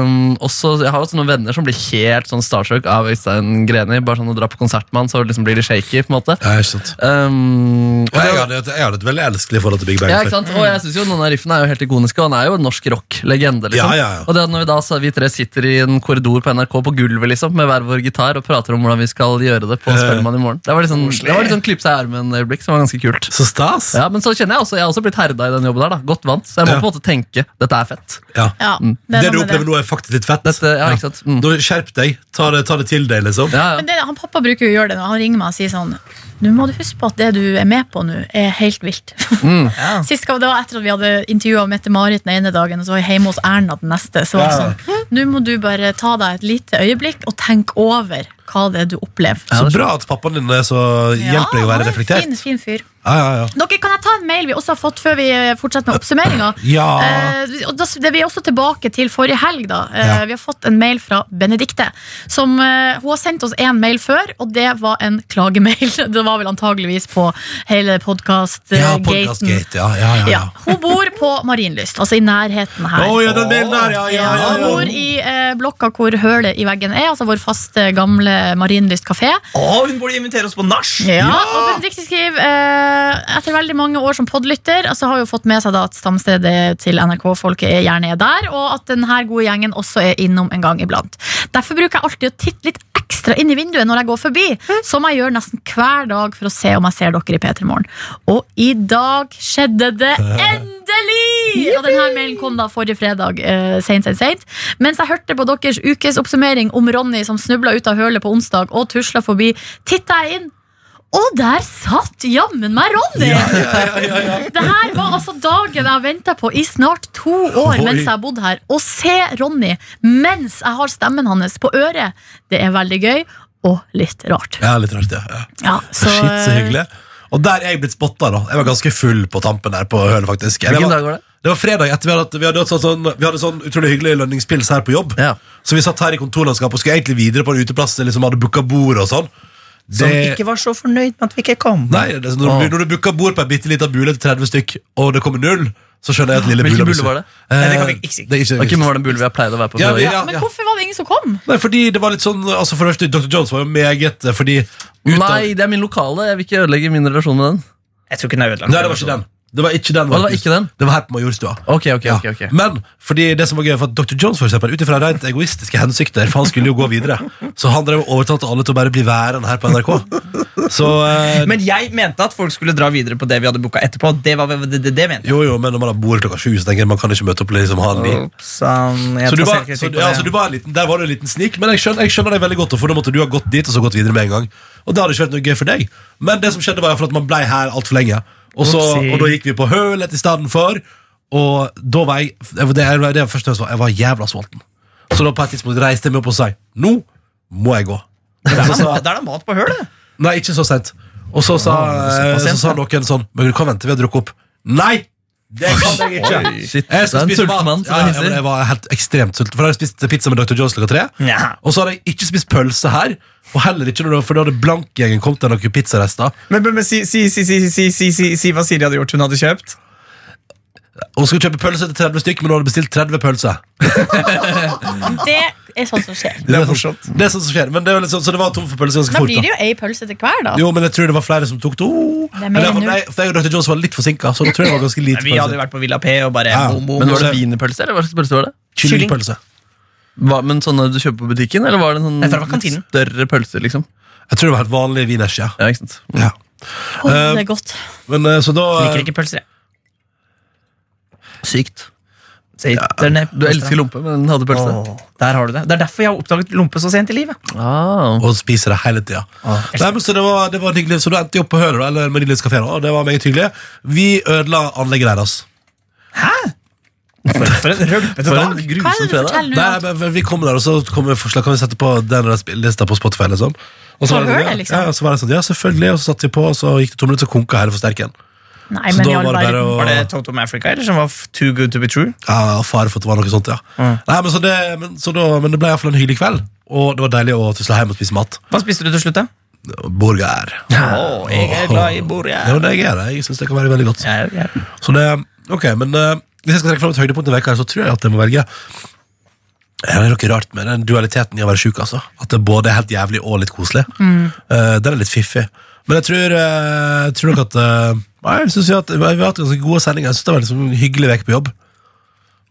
Um, også, jeg har også noen venner som blir helt sånn starstruck av Øystein Greni. Bare sånn å dra på konsert med han, så liksom blir de shaky, på en måte.
Ja, ikke sant.
Um, og
Og jeg
det-
hadde, jeg hadde et veldig elskelig forhold til Big Bang.
ja, ikke sant? Og jeg synes jo noen av riffene er jo helt ikoniske, og han er jo en norsk rock-legende. liksom.
Ja, ja, ja.
Og det at når vi da så vi tre sitter i en korridor på NRK på gulvet liksom, med hver vår gitar og prater om hvordan vi skal gjøre det
Eh.
på Spellemann i morgen. Det var litt sånn, det var litt sånn klipp seg i armen-øyeblikk som var ganske kult.
Så stas!
Ja, Men så kjenner jeg også, jeg har også blitt herda i den jobben der. da, Godt vant. Så jeg må
Ja.
på en måte tenke dette er fett.
Ja.
Ja,
Det,
er
du
noe med det.
opplever nå, er faktisk litt fett.
Dette, ja, ikke sant? Mm.
Da Skjerp deg. Ta det, ta det til deg, liksom.
Ja, ja.
Men det, han pappa bruker jo å gjøre det når han ringer meg og sier sånn Nå må du huske på at det du er med på nå, er helt vilt.
Mm.
Ja.
Sist gang, Det var etter at vi hadde intervjua Mette-Marit den ene dagen, og så var jeg hjemme hos Erna den neste. Så var det
Ja.
sånn, Nå må du bare ta deg et lite øyeblikk og tenke over hva det er du opplever.
Så bra at pappaen din er så hjelper deg å være
han er en
reflektert.
Fin, fin fyr.
Ja, ja, ja.
Dere, Kan jeg ta en mail vi også har fått før vi eh, fortsetter med oppsummeringa?
Ja.
Eh, og da, det, vi er også tilbake til forrige helg. da Eh,
Ja.
Vi har fått en mail fra Benedikte. Som, eh, hun har sendt oss en mail før, og det var en klagemail. Det var vel antageligvis på hele
Ja,
podkast-gaten.
Podcast-gate. Ja, ja, ja, ja.
Ja, hun bor på Marienlyst, altså i nærheten her.
Å, ja, den delen der, ja, ja, ja,
Hun bor
ja.
i eh, blokka hvor hølet i veggen er, altså vår faste, gamle Marienlyst kafé.
Å, hun burde invitere oss på nach!
Ja, og Benedikte skriver eh, Etter veldig mange år som podlytter altså har jo fått med seg da at stamstedet til NRK-folket er- gjerne er der, og at denne gode gjengen også er innom en gang iblant. Derfor bruker jeg alltid å titte litt ekstra inn i vinduet når jeg går forbi, som jeg gjør nesten hver dag for å se om jeg ser dere i P3 Morgen. Og i dag skjedde det endelig! Og denne mailen kom da forrige fredag, eh, sent, sent, sent. Mens jeg hørte på deres ukesoppsummering om Ronny som snubla ut av hølet på onsdag og tusla forbi, titta jeg inn Og der satt jammen meg Ronny! Det her var altså dagen jeg venta på i snart to år
Oi.
mens jeg har bodd her. Å se Ronny mens jeg har stemmen hans på øret, det er veldig gøy og litt rart.
Ja, litt rart, ja. ja.
Ja, så,
Shit,
eh,
så hyggelig. Og der er jeg blitt spotta, da. Jeg var ganske full på tampen der på hølet, faktisk. Eller, jeg
Hvilken
var-
dag var det?
Det var fredag etter vi hadde, hatt- vi hadde, hatt sånn, sånn, vi hadde sånn utrolig hyggelig lønningspils her på jobb.
Ja.
Så vi satt her i kontorlandskapet og skulle egentlig videre på en uteplass. Liksom hadde booka bord og sånn.
Som
Det-
ikke var så fornøyd med at vi ikke kom.
Nei, det er sånn, når, du, når du booker bord på en bitte liten bule til 30 stykk, og det kommer null, så skjønner jeg at lille
Hvilken
bula blir
bule
sur.
var det?
Eh,
Nei, det kan vi ikke si.
det er ikke,
Ok, men Var det en bule vi har pleid å være på?
Ja,
fredager?
vi-
ja, men hvorfor var det ingen som kom?
Nei, fordi det var litt sånn altså For det første, Dr. Jones var jo meget eh, Fordi ut av-
Nei, det er min lokale. Jeg vil ikke ødelegge min relasjon med den.
Jeg tror ikke den er ødelagt.
Nei, det var ikke den. Det var ikke den.
Å, det var
Markus.
ikke den?
Det var her på Majorstua.
Ok, ok,
Ja.
ok, ok
Men fordi det som var gøy for at Dr. Jones for eksempel, utifra rent egoistiske hensikter For han skulle jo gå videre Så han drev og overtalte alle til å bare bli værende her på NRK Så eh,
Men jeg mente at folk skulle dra videre på det vi hadde booka etterpå. Det var det, det, det mente jeg.
Jo jo, men når man har bord klokka sju Så tenker jeg man kan ikke møte opp liksom
Mm.
halv ni
Sånn, jeg
så du,
tar
var, så,
selvkritikk på
ja,
det.
så du var en liten, Der var du en liten snik Men jeg skjønner, jeg skjønner deg veldig godt For da måtte du ha gått dit og så gått videre med en gang Og det hadde ikke vært noe gøy for deg Men det som skjedde var i hvert fall at man ble her alt for lenge og, så,
Oopsie.
og da gikk vi på hølet i stedet for Og da var jeg Det, det, var- det var første gang jeg var Jeg var jævla svolten Så da på et tidspunkt reiste jeg meg opp og sa Nå må jeg gå
Der er det mat- der er det mat på hølet!
Nei, ikke så sent Og så sa,
Ah, såpass
så
sent,
sa
ja.
noen sånn Men du kan vente, vi har drukket opp Nei, det kan jeg ikke
Shit,
jeg
det
skal
er en
spise mat.
sulten mann som
ja,
er
ja, men
hissig.
jeg var helt ekstremt sulten. For da hadde jeg spist pizza med Dr. Jones klokka tre.
Nja.
Og så hadde jeg ikke spist pølse her. Og heller ikke når det var, For da hadde blankgjengen kommet til noen pizzarester.
Men, men, men si, si, si, si, si, si, si, si hva Siri hadde gjort. Hun hadde kjøpt.
Og skulle kjøpe pølse til 30 stykk, men hun hadde bestilt 30 pølser.
Det er sånt som skjer.
Det er
morsomt.
Det er sånn som skjer. Men det var litt sånn, så det var tom for pølser ganske
Da
fort.
blir
da
det jo ei pølse til hver, da.
jo, men jeg tror det var flere som tok to.
er mer
Men jeg,
enn null.
for jeg og Dr. Jones var litt forsinka, så da tror jeg det var ganske lite
Vi hadde jo
pølse.
vært på Villa P og bare
Ja,
bom, bom,
Men var det
så-
wienerpølse, eller hva slags pølse var det?
Kyllingpølse.
Hva, men sånne du kjøper på butikken, eller var det en sånn
Nei, det var
litt
kantinen.
større pølse, liksom?
Jeg tror det var helt vanlig wieners, ja.
Ja, ikke sant?
ja.
Å, det er godt.
Men eh, så da eh,
Liker ikke pølser, jeg.
Sykt.
Sitter ned
Du elsker lompe, men den hadde pølse.
Åh, Der har du det. Det er derfor jeg har oppdaget lompe så sent i livet.
Ah.
og spiser eh, det hele tida. Nei, men så det var, det var en hyggelig Så da endte jeg opp på Høler, da, eller Marienlyst kafé, da, og det var meget hyggelig. Vi ødela anlegget deres.
For, for en rølpete
For
dag!
en
Hva er det
grusom
du
fredag.
forteller nå?
Nei, men vi kommer der, og så kommer forslag Kan vi sette på den der spillelista på Spotify eller sånn? Og så
På
var det sånn,
Høler,
ja.
liksom?
Ja, og så var det sånn, ja, selvfølgelig. Og så satte vi på, og så gikk det to minutter, så konka hele forsterkeren.
Nei,
Så
men
da
i all
var det bare
verden.
å
Var det Toto med Africa, eller som var f- Too Good To Be True?
Ja, fare for at det var noe sånt, ja.
Mm.
Nei, men, så det, men, så da, men det ble iallfall en hyggelig kveld, og det var deilig å tusle hjem og spise mat.
Hva spiste du til slutt, da?
Burger.
Åh, jeg er glad i bordet.
Ja, men jeg er det. Jeg syns det kan være veldig godt.
Ja, ja.
Så det, ok, men eh, Hvis jeg skal trekke fram et høydepunkt i veka, her, så tror jeg at jeg må velge Det er noe rart med den dualiteten i å være sjuk. Altså. At det både er helt jævlig og litt koselig.
Mm.
Eh, den er litt fiffig. Men jeg tror, eh, jeg tror nok at eh, Nei, jeg synes jo at Vi har hatt ganske gode sendinger. Jeg synes Det var liksom en hyggelig uke på jobb.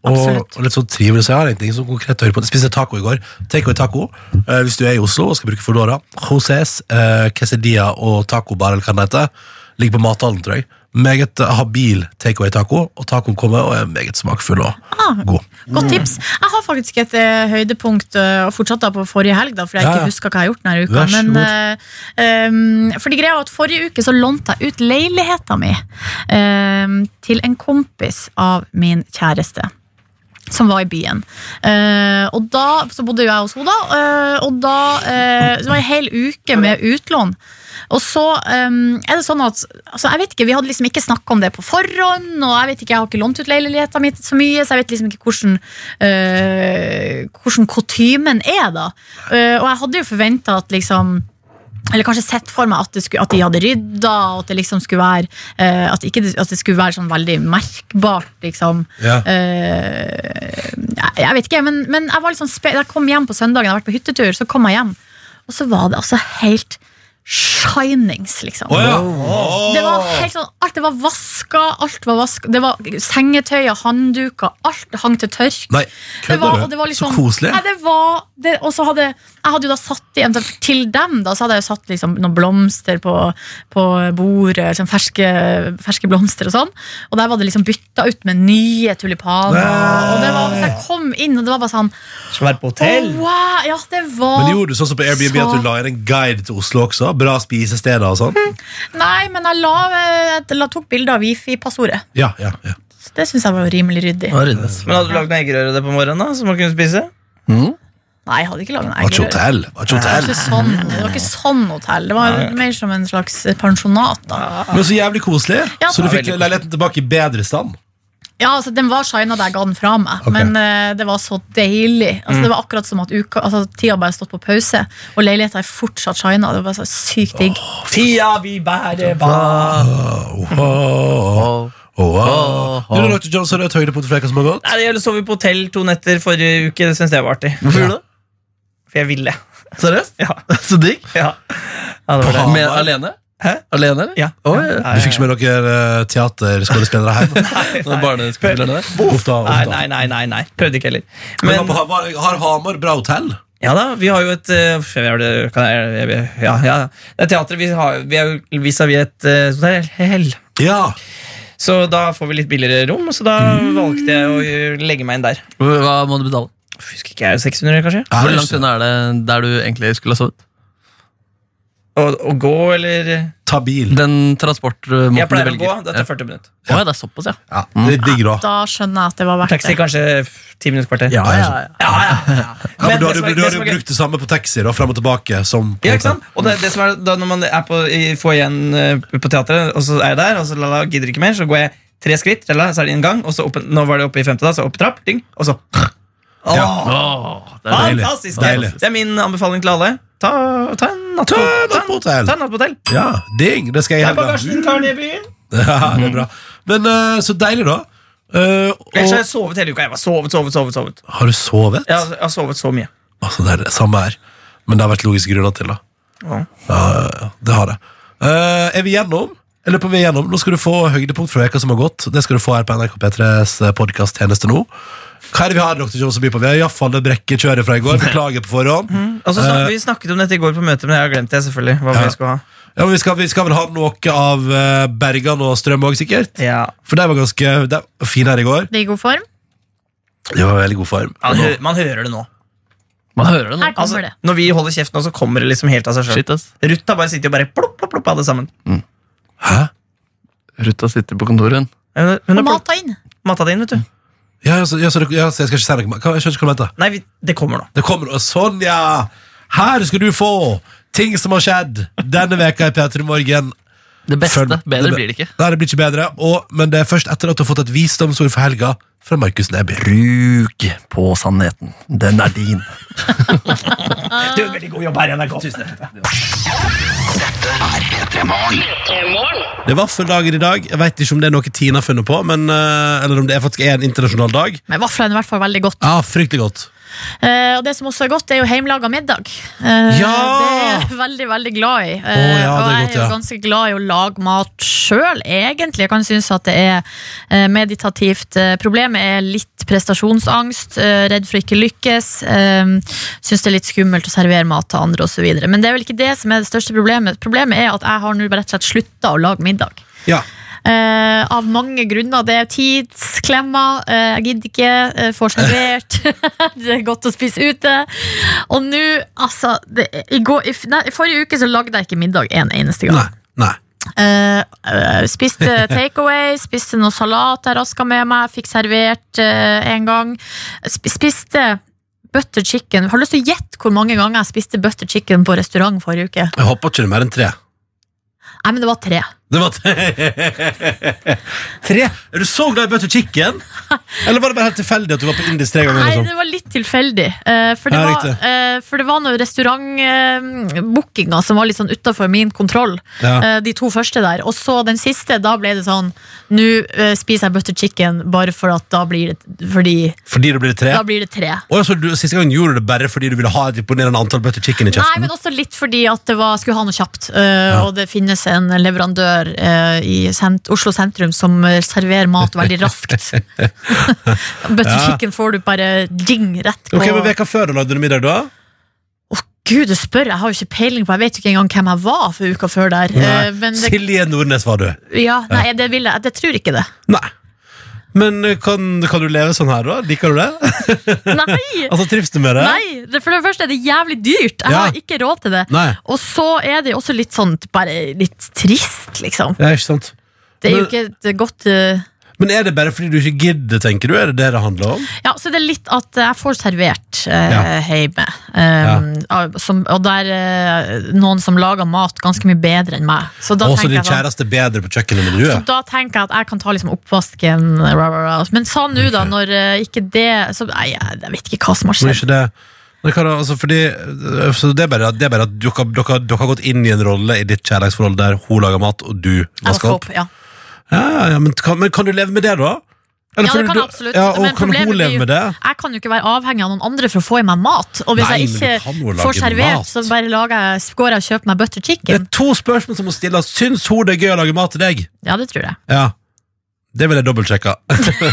Og,
Absolutt.
og litt sånn trivelig, så jeg har ingenting som konkret hører på. Jeg spiste taco i går. Take away taco. Eh, hvis du er i Oslo og skal bruke Foodora, Josés, uh, quesadilla og tacobar, eller hva det heter, ligger på mathallen, tror jeg. Meget eh, habil take away taco, og tacoen kommer og er meget smakfull og
Ah.
god.
Godt tips. Jeg har faktisk et eh, høydepunkt eh, og fortsatt da på forrige helg, da, fordi jeg
Ja, ja.
ikke husker hva jeg har gjort denne uka.
Vær så
Men, eh, em, fordi greia var at Forrige uke så lånte jeg ut leiligheta mi em, til en kompis av min kjæreste. Som var i byen. Eh, og da, Så bodde jo jeg hos henne, da. eh, og da eh, så var det en hel uke med utlån. Og så um, er det sånn at altså, Jeg vet ikke, Vi hadde liksom ikke snakka om det på forhånd. Og Jeg vet ikke, jeg har ikke lånt ut leiligheten min så mye, så jeg vet liksom ikke hvordan, øh, hvordan kutymen er. da Eh, Og jeg hadde jo forventa at liksom eller kanskje sett for meg at, det skulle, at de hadde rydda, og at det liksom skulle være eh, at, ikke, det- at det skulle være sånn veldig merkbart, liksom.
Ja.
Eh, jeg, jeg vet ikke, men, men jeg var litt sånn spe da jeg kom hjem på søndagen, jeg har vært på hyttetur, så kom jeg hjem, og så var det altså helt shinings, liksom.
Å ja.
Det var helt sånn, alt det var vaska, alt var vaska, det var sengetøy og handduker, alt hang til tørk.
Nei,
Det var,
kødder
og
du?
det var liksom,
så koselig.
Nei, det var, det, og så hadde, jeg hadde jo da satt igjen til dem, da, så hadde jeg jo satt liksom noen blomster på, på bordet, liksom ferske, ferske blomster og sånn. Og der var det liksom bytta ut med nye tulipaner.
Nei.
Og det var, så jeg kom inn, og det var bare sånn
Som er på hotell.
«Å, wow, Ja, det var
Men gjorde du sånn som på Airbnb
så-
at du la inn en guide til Oslo også? da? Bra spisesteder og sånn?
Nei, men jeg la, jeg la tok bilde av wifi-passordet.
Ja, ja, ja.
Så det syns jeg var rimelig ryddig.
Men hadde du lagd noe eggerøre det på morgenen, da, som man kunne spise?
Nei, jeg hadde ikke laget en
Var ikke
eggerøre.
hotell. Var ikke
Det var
hotell.
ikke sånn, det var ikke sånn hotell. Det var mer som en slags pensjonat. da.
Men så jævlig koselig.
Ja,
Så du
var
det
fikk
veldig koselig.
leiligheten tilbake i bedre stand?
Ja, altså Den var shina da jeg ga den fra meg,
Ok.
men eh, det var så deilig. Altså Det var akkurat som at uka, altså, tida bare stått på pause, og leiligheta er fortsatt shina. Det var bare så sykt digg.
Tida vi bærer bak
Åh, åh, åh. Du har lagt til Johnson Rødt høydepunkt for deg, hva som har gått?
Nei, Jeg sov jo på hotell to netter forrige uke. Det syns jeg var artig. Hvorfor
gjorde du det?
For jeg ville.
Seriøst?
Ja,
Så digg.
ja. ja det var det.
Med, alene?
Hæ?
Alene, eller?
Ja.
Oi, ja.
Du fikk ikke med dere eh, teaterskuespillere hjem?
Noen barneskuespillere der?
Uff da, uff
Nei,
da.
nei, nei, nei, nei. Prøvde ikke heller.
sånn. Men
Men
hva på Hamar, har Hamar bra hotell?
ja da, vi har jo et eh, uff, jeg, det- kan jeg, jeg, jeg, Ja, ja. Det er teatret. Vi, har, vi er jo vis-à-vis et eh, hotell. Hell.
Ja.
Så da får vi litt billigere rom, så da valgte jeg å eh, legge meg inn der.
Hva må du betale?
Uff, Husker ikke jeg, 600 kanskje?
Hvor langt unna er det der du egentlig skulle ha sovet?
Å, å gå, eller
Ta bil.
Den transportmåten
Jeg pleier
du
å gå.
velger.
Dette er 40 minutter.
Ja. Å, ja, det er såpass, ja.
Ja, det er digg, da.
Da skjønner jeg at det var verdt
Taxi
det.
kanskje f- 10 minutter kvarter.
Ja, ja, ja. Ja, men
Men
du har jo
det som
du
er-
har
det
jo
som er gøy-
brukt det samme på taxi, da, frem og tilbake. Som på
Ja, ikke sant? Og det, det som er da Når man er på, i, får igjen eh, på teatret, og så er jeg der, og så la, la, gidder ikke mer, så går jeg tre skritt, la, la, så er det inngang, og så opp, en- nå var det oppe i femte, da, så opp trapp, ding, og så Åh,
Åh, det er
Deilig.
Fantastisk!
Deilig.
Det er min anbefaling til alle. Ta, ta en natt
Ta
på
en natt på hotell.
Ta en natt på hotell.
Ja, ding! Det skal jeg
Ta
gjøre.
bagasjen din, tar den i byen.
Ja, det er bra. Men eh, så deilig, da. Eh,
Ellers har
og,
jeg sovet hele uka. Jeg var sovet, sovet, sovet, sovet.
har du sovet?
Jeg har, jeg har sovet så mye.
Altså, det er det samme her. Men det har vært logiske grunner til, da.
Ja.
Ja, ja, ja, det har det. Eh, er vi gjennom? Jeg lurer på om vi er gjennom. Nå skal du få høydepunkt fra veka som har gått. Det skal du få her på NRK P3s podkasttjeneste nå. Hva er det vi har Dr. Jones å by på? Vi har iallfall det brekkekjøret fra i går. Beklager på forhånd.
Og så snak, Vi snakket om dette i går på møtet, men jeg har glemt det. selvfølgelig Hva
Eh. Ja.
vi skulle ha
Ja, men vi skal, vi skal vel ha noe av eh, Bergan og Strøm òg, sikkert?
ja.
For de var ganske de var fine her i går.
Det er i god form.
De var i veldig god form.
man, hø man hører det nå.
Man hører det nå.
Her
Altså,
kommer det.
når vi holder kjeft nå, så kommer det liksom helt av seg sjøl.
Shit, ass.
Ruth har bare sittet og bare plopp, plopp, plopp, alle sammen.
Hæ?
Ruta sitter på kontoret. hun.
Hun
Og
har plopp,
mata inn.
matet det inn, vet du.
Ja, ja, så, ja, så, det- ja, så jeg skal ikke si noe. Hva- Jeg skjønner ikke hva du mente.
Nei, vi, det kommer nå.
Det kommer og Sånn, ja! Her skal du få ting som har skjedd denne veka i P3 Morgen.
Det beste.
Følg-
Bedre blir det ikke.
Nei, det blir ikke bedre. Og, men det er først etter at du har fått et visdomsord for helga fra Markus Neby.
Bruk på sannheten. Den er din.
Du, veldig god jobb her i NRK.
Det er vaffeldagen i dag. Jeg vet ikke om det er noe Tina har funnet på, men, eh, eller om det er faktisk er en internasjonal dag.
Men vaflene er i hvert fall veldig godt.
Ja, fryktelig godt.
Eh, og det som også er godt, det er jo hjemmelaga middag. Eh,
Ja!
Det er jeg veldig, veldig glad i. Eh,
Å, ja,
og
det er
jeg
godt,
er jo
ja.
ganske glad i å lage mat sjøl, egentlig. Jeg kan synes at det er eh, meditativt. Eh, problemet er litt prestasjonsangst, eh, redd for å ikke lykkes. Eh, synes det er litt skummelt å servere mat til andre osv. Men det er vel ikke det som er det største problemet. Problemet er at jeg har nå bare rett og slett slutta å lage middag.
Ja.
Eh, av mange grunner. Det er tidsklemmer, eh, jeg gidder ikke, eh, får servert. det er godt å spise ute. Og nå, altså det, i, går, i, f- nei, I forrige uke så lagde jeg ikke middag en eneste gang.
Nei. Nei.
Eh, eh, spiste takeaway, spiste noe salat jeg raska med meg, fikk servert eh, en gang. Sp spiste butter chicken. Har du lyst til å gjette hvor mange ganger jeg spiste butter chicken på restaurant forrige uke?
Jeg håper ikke det er mer enn tre.
Nei, men det var tre.
Det var tre. tre? Er du så glad i butter chicken? Eller var det bare helt tilfeldig at du var på Indis tre ganger?
Nei,
Liksom?
det var litt tilfeldig. eh, for, det
Ja,
var,
riktig.
eh, for det var noen restaurantbookinger som var litt sånn utafor min kontroll.
Ja.
eh, de to første der. Og så den siste, da ble det sånn Nå eh, spiser jeg butter chicken bare for at da blir det Fordi
Fordi det blir tre?
da blir det tre.
Og altså, du, siste gangen gjorde du det bare fordi du ville ha et imponerende antall butter chicken i
Nei,
kjeften?
men også litt fordi at det var, skulle ha noe kjapt. eh,
Ja.
Og det finnes en leverandør eh, i sent, Oslo sentrum som eh, serverer mat veldig raskt. butter
Ja.
chicken får du bare ding rett på.
Ok, men Veka før du lagde du middag, da?
Åh, Gud, du spør, jeg har jo ikke peiling på Jeg vet jo ikke engang hvem jeg var for uka før der
Nei.
Eh, Men det,
Silje Nordnes var du.
ja, nei, det, vil jeg, det tror jeg ikke det
Nei. Men eh, kan, kan du leve sånn her, da? Liker du det?
Nei!
Altså, Trives du med det?
Nei, det- for det første er det jævlig dyrt. Jeg
Ja.
har ikke råd til det.
Nei.
Og så er det jo også litt sånn bare litt trist, liksom.
Ja, ikke sant?
Det er jo
Men-
ikke et godt eh,
Men er det bare fordi du ikke gidder, tenker du? Er det det det handler om?
Ja, så det er litt at jeg får servert eh,
Ja.
hjemme. Um, av- som, og det er eh, noen som lager mat ganske mye bedre enn meg. Så da,
Og så
tenker
din
jeg, sånn-
kjæreste er bedre på kjøkkenet enn du
så
er?
da tenker jeg at jeg kan ta liksom oppvasken. Rah, rah, rah. Men sa nå, da, når eh, ikke det så, nei, Jeg jeg vet ikke hva som har
Men
skjedd.
ikke det men hva da, altså fordi, øh, så det er bare, det er bare at dere, dere, dere har gått inn i en rolle i ditt kjærlighetsforhold der hun lager mat, og du
Jeg vasker
vasker opp.
opp, ja.
Ja, ja, ja, men, kan, men kan du leve med det, da? Eller
Ja,
føler
det kan
du-
jeg absolutt.
Ja, og
Men
kan
problemet
hun
blir
leve
jo-
med det?
Jeg kan jo ikke være avhengig av noen andre for å få i meg mat. Og hvis
Nei, men
jeg
du kan jo
ikke
lage
får servert,
mat.
så bare lager jeg, går jeg og kjøper meg butter
Det er
chicken.
to spørsmål som må stilles. Syns hun det er gøy å lage mat til deg?
Ja, det tror jeg.
Ja. Det vil jeg dobbeltsjekke.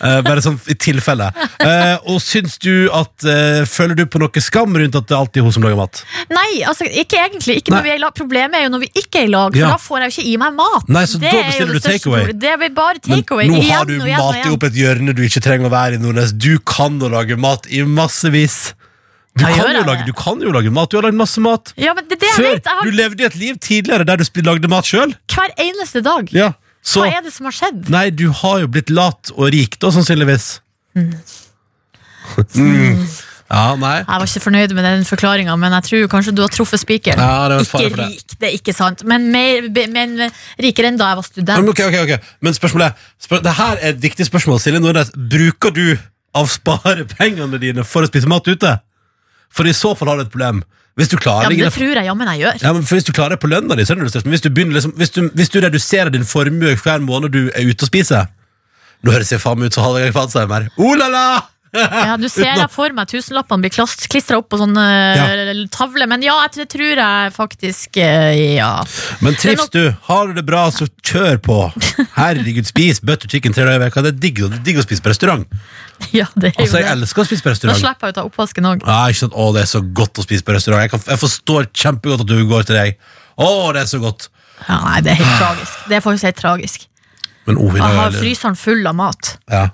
Eh, Bare sånn i tilfelle. Eh, og syns du at eh, Føler du på noe skam rundt at det er alltid hun som lager mat?
Nei, altså ikke egentlig. Ikke når
Nei.
vi er i lag. Problemet er jo når vi ikke er i lag, for
Ja.
da får jeg jo ikke i meg mat.
Nei, så da
er jo
bestiller
det
du
største
takeaway.
problemet. Det blir bare
Men
takeaway.
nå
igjen
har du
og igjen og
mat i
igjen.
opp et hjørne du ikke trenger å være i, Nordnes. Du kan å lage mat i massevis. Du
Ja, gjør
kan, jo
jeg
lage,
det?
du kan jo lage mat. Du har lagd masse mat.
Ja, men det er det jeg
Før!
vet. Jeg
Du
har
levde i et liv tidligere der du sp- lagde mat sjøl.
hver eneste dag.
Ja. Så
Hva er det som har skjedd?
Nei, du har jo blitt lat og rik, da, sannsynligvis. Mm. Ja, nei.
Jeg var ikke fornøyd med den forklaringa, men jeg tror kanskje du har truffet spikeren.
Ja, det var
ikke
fare for det.
rik, det er ikke sant, men, mer, be- men rikere enn da jeg
Men,
var student.
ok, ok, ok. Men spørsmålet er spør, Det her er et viktig spørsmål, Silje Nordnes. Bruker du av sparepengene dine for å spise mat ute? For i så fall har du et problem. Hvis du
Ja,
klarer
men Det
det
tror jeg jammen jeg gjør.
ja, men for Hvis du klarer det på lønna di, så er det noe størst. Men hvis du, begynner liksom, hvis, du, hvis du reduserer din formue hver måned du er ute og spiser Nå høres jeg faen meg ut som Hallgeir Kvadsheim her. Oh la la!
Ja, du ser jeg for meg tusenlappene blir klistra opp på sånn eh, tavle, men ja, jeg tror- det tror jeg faktisk eh, Ja.
Men trives
Det
du, har du det bra, så kjør på. Herregud, spis butter chicken tre dager i veka. Det er digg, det er digg å spise på restaurant.
ja det er jo
Altså, jeg
det.
elsker å spise på
Da
restaurant.
slipper jeg å ta oppvasken òg.
Ja, ikke sant? Å, det er så godt å spise på restaurant. Jeg, kan, jeg forstår kjempegodt at du går til deg. Å, det er så godt.
Ja, nei, det er helt tragisk. Det er faktisk helt tragisk.
Men oh, i
Jeg
dag
har
er Ah. det-
fryseren full av mat.
ja.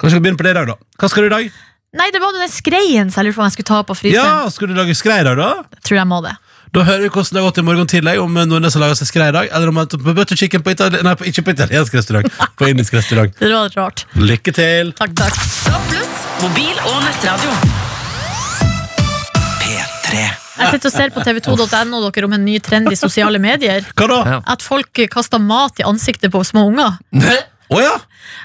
Kanskje vi kan begynne på det i dag, da. Hva skal du i dag?
Nei, det var nå den skreien så jeg lurte på om jeg skulle ta på fryseren.
Ja, Skal du lage skrei i dag, da?
Tror jeg må det.
Da hører vi hvordan det har gått i morgen tidlig, om Nordnes har laga seg skrei i dag, eller om han tok på butter chicken på itali Nei, på, ikke på italiensk restaurant, på indisk restaurant.
Det var rart.
Lykke til!
Takk, takk.
Pluss mobil og nettradio.
P3.
Jeg sitter og ser på tv2.no dere om en ny trend i sosiale medier.
Hva da? Å ja.
Ja.
At folk kaster mat i ansiktet på små unger.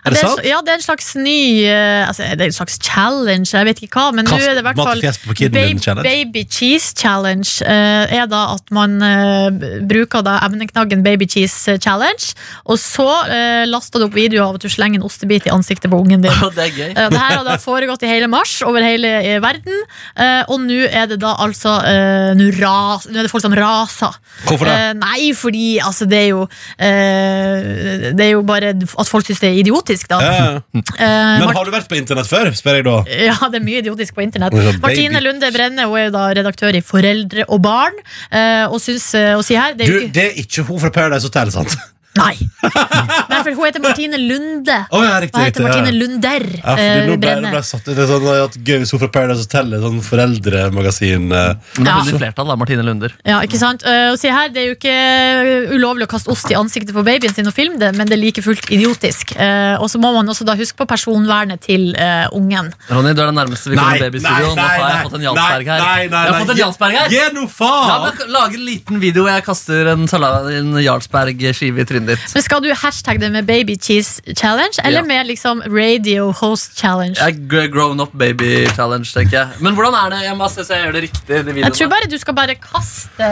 Er det
en
sant?
sl- ja, det er en slags ny eh, altså, Det er en slags challenge, jeg vet ikke hva. Men nå
Kast
er det i hvert
mat i
fall
fjeset på kiden din challenge.
Baby cheese challenge. eh, er da at man eh, b- bruker da emneknaggen baby cheese challenge, og så eh, laster du opp video av at du slenger en ostebit i ansiktet på ungen din.
Det er gøy.
Eh, Det her har da foregått i hele mars over hele eh, verden, eh, og nå er det da altså eh, nå ras, Nå er det folk som raser.
Hvorfor det?
Eh, nei, fordi altså, det er jo eh, Det er jo bare at folk syns det er idiotisk, da.
Ja, ja.
Eh,
Men
Mart-
har du vært på internett før, spør jeg da.
ja, det er mye idiotisk på internett.
Og så
Martine
baby-
Lunde Brenne Hun er jo da redaktør i Foreldre og barn. eh, Og syns eh, og sier her det er
Du,
jo ikke,
det er ikke hun fra Paradise Hotel, sant?
Nei! Nei, for hun heter Martine Lunde.
Å, ja, riktig,
Hun
riktig,
heter
ja.
Martine Lunder
Ja, fordi
eh,
nå ble, nå ble
Brenne.
jeg satt ut i sånn at gøy hvis hun fra Paradise Hotel er sånn foreldremagasin. eh.
Men det
Ja.
er veldig flertall, da, Martine Lunder.
Ja, ikke sant? Eh, Og sier her det er jo ikke eh, ulovlig å kaste ost i ansiktet på babyen sin og filme det, men det er like fullt idiotisk. Eh, Og så må man også da huske på personvernet til eh, ungen.
Ronny, du er den nærmeste vi kommer babystudio. Nå har jeg fått en Jarlsberg her.
nei, nei,
jeg
nei.
har fått en Jarlsberg her.
Gi nå
La
faen!
meg lage en liten video hvor jeg kaster en, salat, en Jarlsberg-skive i trynet ditt.
Men skal du hashtag det med baby cheese challenge, eller
Ja.
med liksom radio host challenge?
Jeg er gr- grown up baby challenge, tenker jeg. Men hvordan er det? Jeg må se så jeg gjør det riktig. i de
Jeg tror
videoene.
bare du skal bare kaste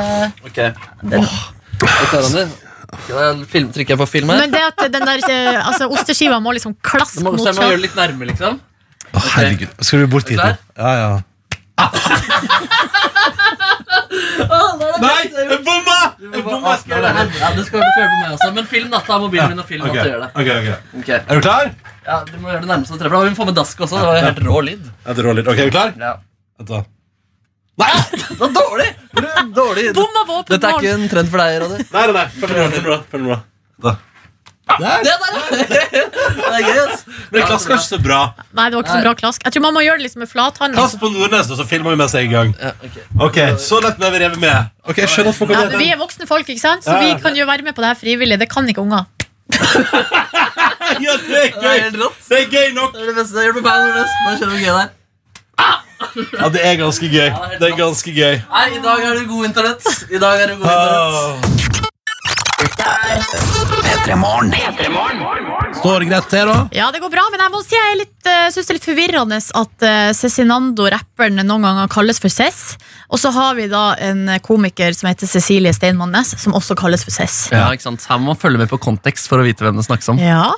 Ok. Ok, Ronny. Skal jeg film, trykker jeg på film her?
Men det at den der eh, altså, osteskiva må liksom
Du
klaske
må
mot
bestemme å
kjøttet.
gjøre det litt nærme, liksom.
Å, herregud. Skal du bort hit nå?
Er du
Ja, ja. Nei, jeg bomma! Jeg bomma! Skal jeg gjøre det her?
Ja, du skal gjøre det før på meg også. Men film da, ta mobilen min og film
Ok,
at du gjør det.
ok, ok.
Ok.
Er du klar?
Ja, du må gjøre det nærmeste du treffer. Da må vi få med dask også. Det var jo helt rå lyd.
Ja, det rår litt. Ok, er du klar?
Ja.
Vent da. Nei!
Det var dårlig! Det var dårlig.
Bomma på åpen
Dette er
mål!
ikke en trend for deg, Ronny.
Nei, nei, nei. Følg med, følg med, følg med. Da. Der.
Det der, ja! det er gøy, ass.
Men klask var ikke så bra.
Nei, det var ikke så bra klask. Jeg tror man må gjøre det liksom med flathanda.
Kast på Nordnes, og så filmer vi mens jeg er i gang.
Ja, ok.
Ok, Så lett ble vi revet med. Ok, jeg skjønner at folk
Ja,
har
men vi er voksne folk, ikke sant? så vi kan jo være med på det her frivillig. Det kan ikke unger.
Ja, det er
Det er
gøy
helt rått.
Det er gøy nok!
Det er det beste jeg har gjort på Band Nordnes. Nå skjønner vi hvor gøy det er.
Ja, det er ganske gøy. Det er ganske gøy.
Nei, i dag er det god internett. I dag er det god
Åh.
internett.
Står det greit til, da?
Ja, det går bra, men jeg må si jeg er litt, eh, synes det er litt forvirrende at eh, Cezinando, rapperen, noen ganger kalles for Cess. Og så har vi da en komiker som heter Cecilie Steinmann Næss, som også kalles for Cess.
Ja, ikke sant? Her må man følge med på kontekst for å vite hvem det snakkes om.
Ja,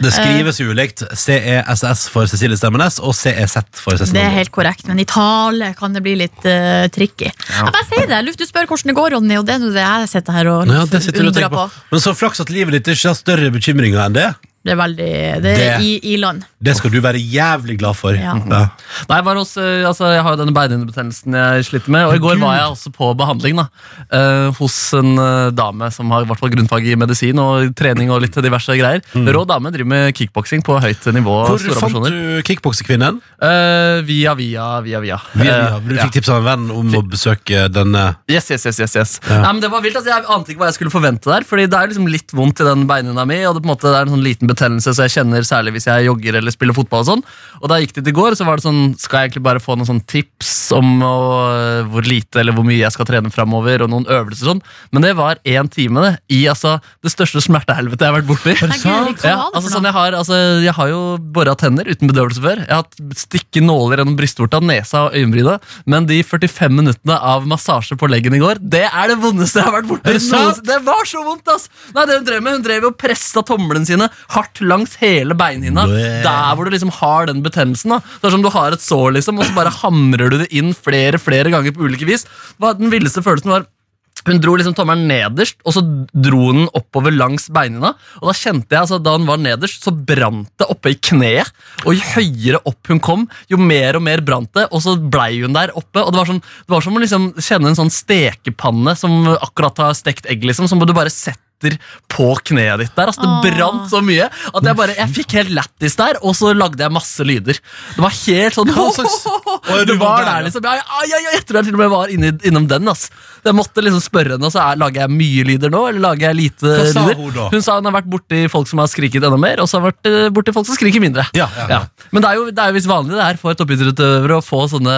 Det skrives ulikt. CESS for Cecilie Stemmenes og CEZ for
det er
Cezinando.
helt korrekt, men i tale kan det bli litt eh, tricky. Jeg bare sier det. Luft, du spør hvordan det går, Ronny, og det er nå det jeg sitter her og
Ja, det sitter du og
undrer
tenker på. Men så flaks at livet ditt ikke har større bekymringer enn det.
Det er veldig Det
Det-
er i, i land.
Det skal du være jævlig glad for.
Ja.
Nei, jeg, var også, altså, jeg har jo denne beinhinnebetennelsen jeg sliter med, og i går var jeg også på behandling da, eh, hos en eh, dame som har i hvert fall grunnfag i medisin og trening og litt diverse greier. Rå dame driver med kickboksing på høyt nivå.
Mm.
og
Hvor
store
fant
ambisjoner.
du kickboksekvinnen?
Eh, via, via, via, via.
Vilja,
Eh,
Du
ja.
fikk tips av en venn om å besøke denne
Yes, yes, yes, yes, yes. Nei, men Det var vilt, altså, Jeg ante ikke hva jeg skulle forvente der. Fordi Det er liksom litt vondt i den beinhinna mi, og det, på en måte, det er en sånn liten betennelse så jeg kjenner særlig hvis jeg jogger eller spiller fotball. og sånn Og Da jeg gikk dit i går, så var det sånn Skal jeg egentlig bare få noen sånn tips om å, øh, hvor lite eller hvor mye jeg skal trene framover, og noen øvelser og sånn. Men det var én time det, i altså, det største smertehelvetet jeg har vært borti.
Nei, Guri, hva
Ja,
var det
altså
for
sånn
noe?
jeg, har, altså, jeg har jo bora tenner uten bedøvelse før. Jeg har hatt stikke nåler gjennom brystvorta, nesa og øyenbrynet. Men de 45 minuttene av massasje på leggen i går, det er det vondeste jeg har vært borti.
Er det sant?
noensinne. Det var så vondt, ass! Nei, det Hun drev med Hun drev jo og pressa tomlene sine hardt langs hele beinhinna.
Bleh.
Der hvor du liksom har den betennelsen. da Det er som du har et sår, liksom, og så bare hamrer du det inn flere flere ganger på ulike vis. Hva- Den villeste følelsen var hun dro liksom tommelen nederst, og så dro den oppover langs beinene. Og da kjente jeg, altså, da hun var nederst, så brant det oppe i kneet. Og jo høyere opp hun kom, jo mer og mer brant det, og så blei hun der oppe. Og det var, sånn, det var som å liksom kjenne en sånn stekepanne som akkurat har stekt egg, liksom. Som du bare setter på kneet ditt der, altså
Åh.
Det brant så mye at jeg bare, jeg fikk helt lættis der, og så lagde jeg masse lyder. Det var helt sånn
Hva slags- Å, ja, du
Det
var
var
der,
der,
ja.
liksom. Ja, ja, ja, ja, jeg tror jeg til og med var inne, innom den. Ass. Jeg måtte liksom spørre henne, og så er, lager jeg mye lyder nå, eller lager jeg lite
Hva sa
lyder?
hun da?
Hun sa hun har vært borti folk som har skriket enda mer, og så har hun vært eh, borti folk som skriker mindre.
Ja, ja, ja.
Men det er jo, det er jo visst vanlig det her for toppidrettsutøvere å få sånne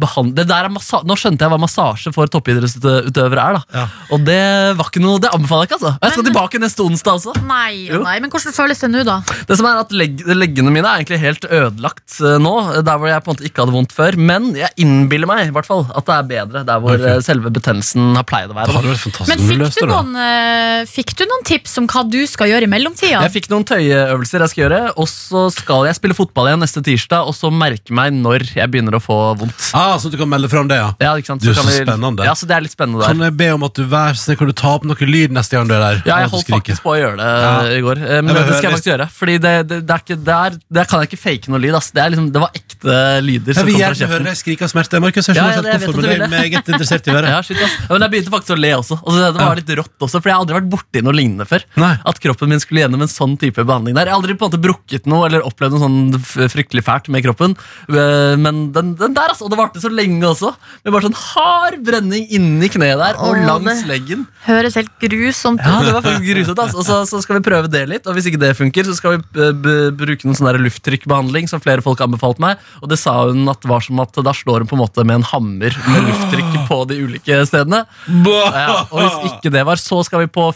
behand... Det der er massa nå skjønte jeg hva massasje for toppidrettsutøvere er, da.
Ja.
Og det var ikke noe Det anbefaler jeg ikke, altså. Og jeg skal
Men-
tilbake neste onsdag også.
Nei,
Jo.
nei, men hvordan føles det nå, da?
Det som er at legg, Leggene mine er egentlig helt ødelagt eh, nå, der hvor jeg på en måte ikke hadde vondt før. Men jeg innbiller meg i hvert fall at det er bedre der hvor
Ok.
eh, selve betennelsen har pleid å
Det
være.
hadde vært fantastisk om
Men
du
fikk du,
løste det.
noen, eh, fikk du noen tips om hva du skal gjøre i mellomtida?
Jeg fikk noen tøyeøvelser jeg skal gjøre, og så skal jeg spille fotball igjen neste tirsdag, og så merke meg når jeg begynner å få vondt.
Ah, så du kan melde fra om det, ja.
Ja, ikke sant?
Du,
kan
så
vi-
spennende.
Ja, så det er litt spennende der.
Kan jeg be om at du vær så snill, kan du ta opp noe lyd neste gang du er der?
Ja,
At
jeg
du
holdt
skriker.
faktisk på å gjøre det eh, i går. eh,
Jeg
Men
vil høre
det skal
litt.
jeg faktisk gjøre. Fordi det, det, det, er ikke, det, er, det kan jeg ikke fake noe lyd. Ass. Det, er liksom, det var ekte lyder
Jeg
som
vil
kom
gjerne
fra
høre
kjeften.
deg skrike av smerte. Markus, jeg
Ja,
skjønner
ja,
ikke helt
det- jeg
hvorfor,
vet
men jeg er
at du vil
meget interessert i å høre.
Ja, shit, ass. Ja, Men jeg begynte faktisk å le også. Altså, det var litt rått også, for jeg har aldri vært borti noe lignende før.
Nei.
At kroppen min skulle gjennom en sånn type behandling der. Jeg har aldri på en måte brukket noe eller opplevd noe sånn f- fryktelig fælt med kroppen. Eh, Men den, den der, altså. Og det varte så lenge også. Med bare sånn hard brenning inni kneet der og
Åh,
langs
det-
leggen.
Høres helt grusomt
Ja,
ut.
det var faktisk grusomt, ass. Og så, så skal vi prøve det litt, og hvis ikke det funker, så skal vi eh, b- bruke noen sånn der lufttrykkbehandling som flere folk anbefalte meg, og det sa hun at var som at da slår hun på en måte med en hammer med lufttrykk på de ulike stedene. Ja, og hvis ikke det var, så skal vi på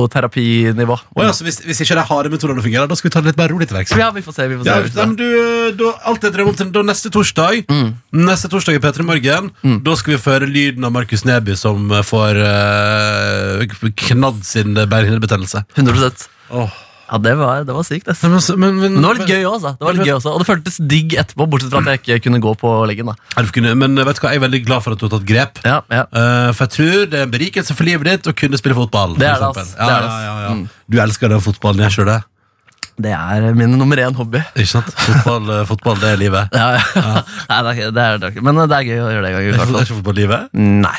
fysioterapinivå.
Å ja, så hvis, hvis ikke de harde metodene fungerer, da skal vi ta det litt mer rolig til verks.
Ja, Mm. vi får se, vi får
Ja,
se.
nei,
Vi får se.
men du, eh, da, alt jeg drømmer om til da neste torsdag Neste torsdag i P3 Morgen
Mm.
Da skal vi føre lyden av Markus Neby Som eh, får eh, knadd sin bærehinnebetennelse
100%.
Åh.
Ja, det var, det var sykt, ass.
Nei, men så- Men, men,
Men det var litt gøy også, ass. det var litt gøy også, og det føltes digg etterpå, bortsett fra at jeg ikke kunne gå på leggen da.
Ja, du kunne- men eh, vet du hva, jeg er veldig glad for at du har tatt grep
Ja, ja.
Eh, For jeg tror det er en berikelse for livet ditt Å kunne spille fotball
Det er det,
for eksempel.
ass.
ja,
Det er det,
ja,
ass. Mm.
ja, ja. Du elsker den fotballen, jeg skjønner det
Det er min nummer én hobby.
Ikke sant? Fotball, eh, fotball det er livet
Ja, ja. Nei, det er, ikke- det er, det er, ikke- men det er gøy å gjøre det en gang i
Er
hvert
ikke
fall.
fotball livet?
Nei.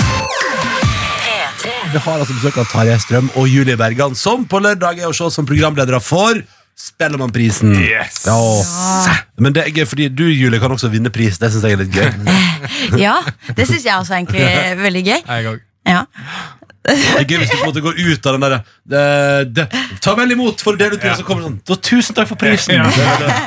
P3.
Vi har altså besøk av Tarjei Strøm og Julie Bergan, som på lørdag er å se som programledere for Spellemannprisen.
Yes.
Ja. Men det er gøy, fordi du, Julie, kan også vinne pris. Det syns jeg er litt gøy.
Ja, det syns jeg også egentlig er veldig gøy.
Jeg òg.
Ja.
Det er gøy hvis du på en måte går ut av den derre det- det- Ta vel imot for det du gjør, så kommer det sånn «Da, Tusen takk for prisen!
Ja.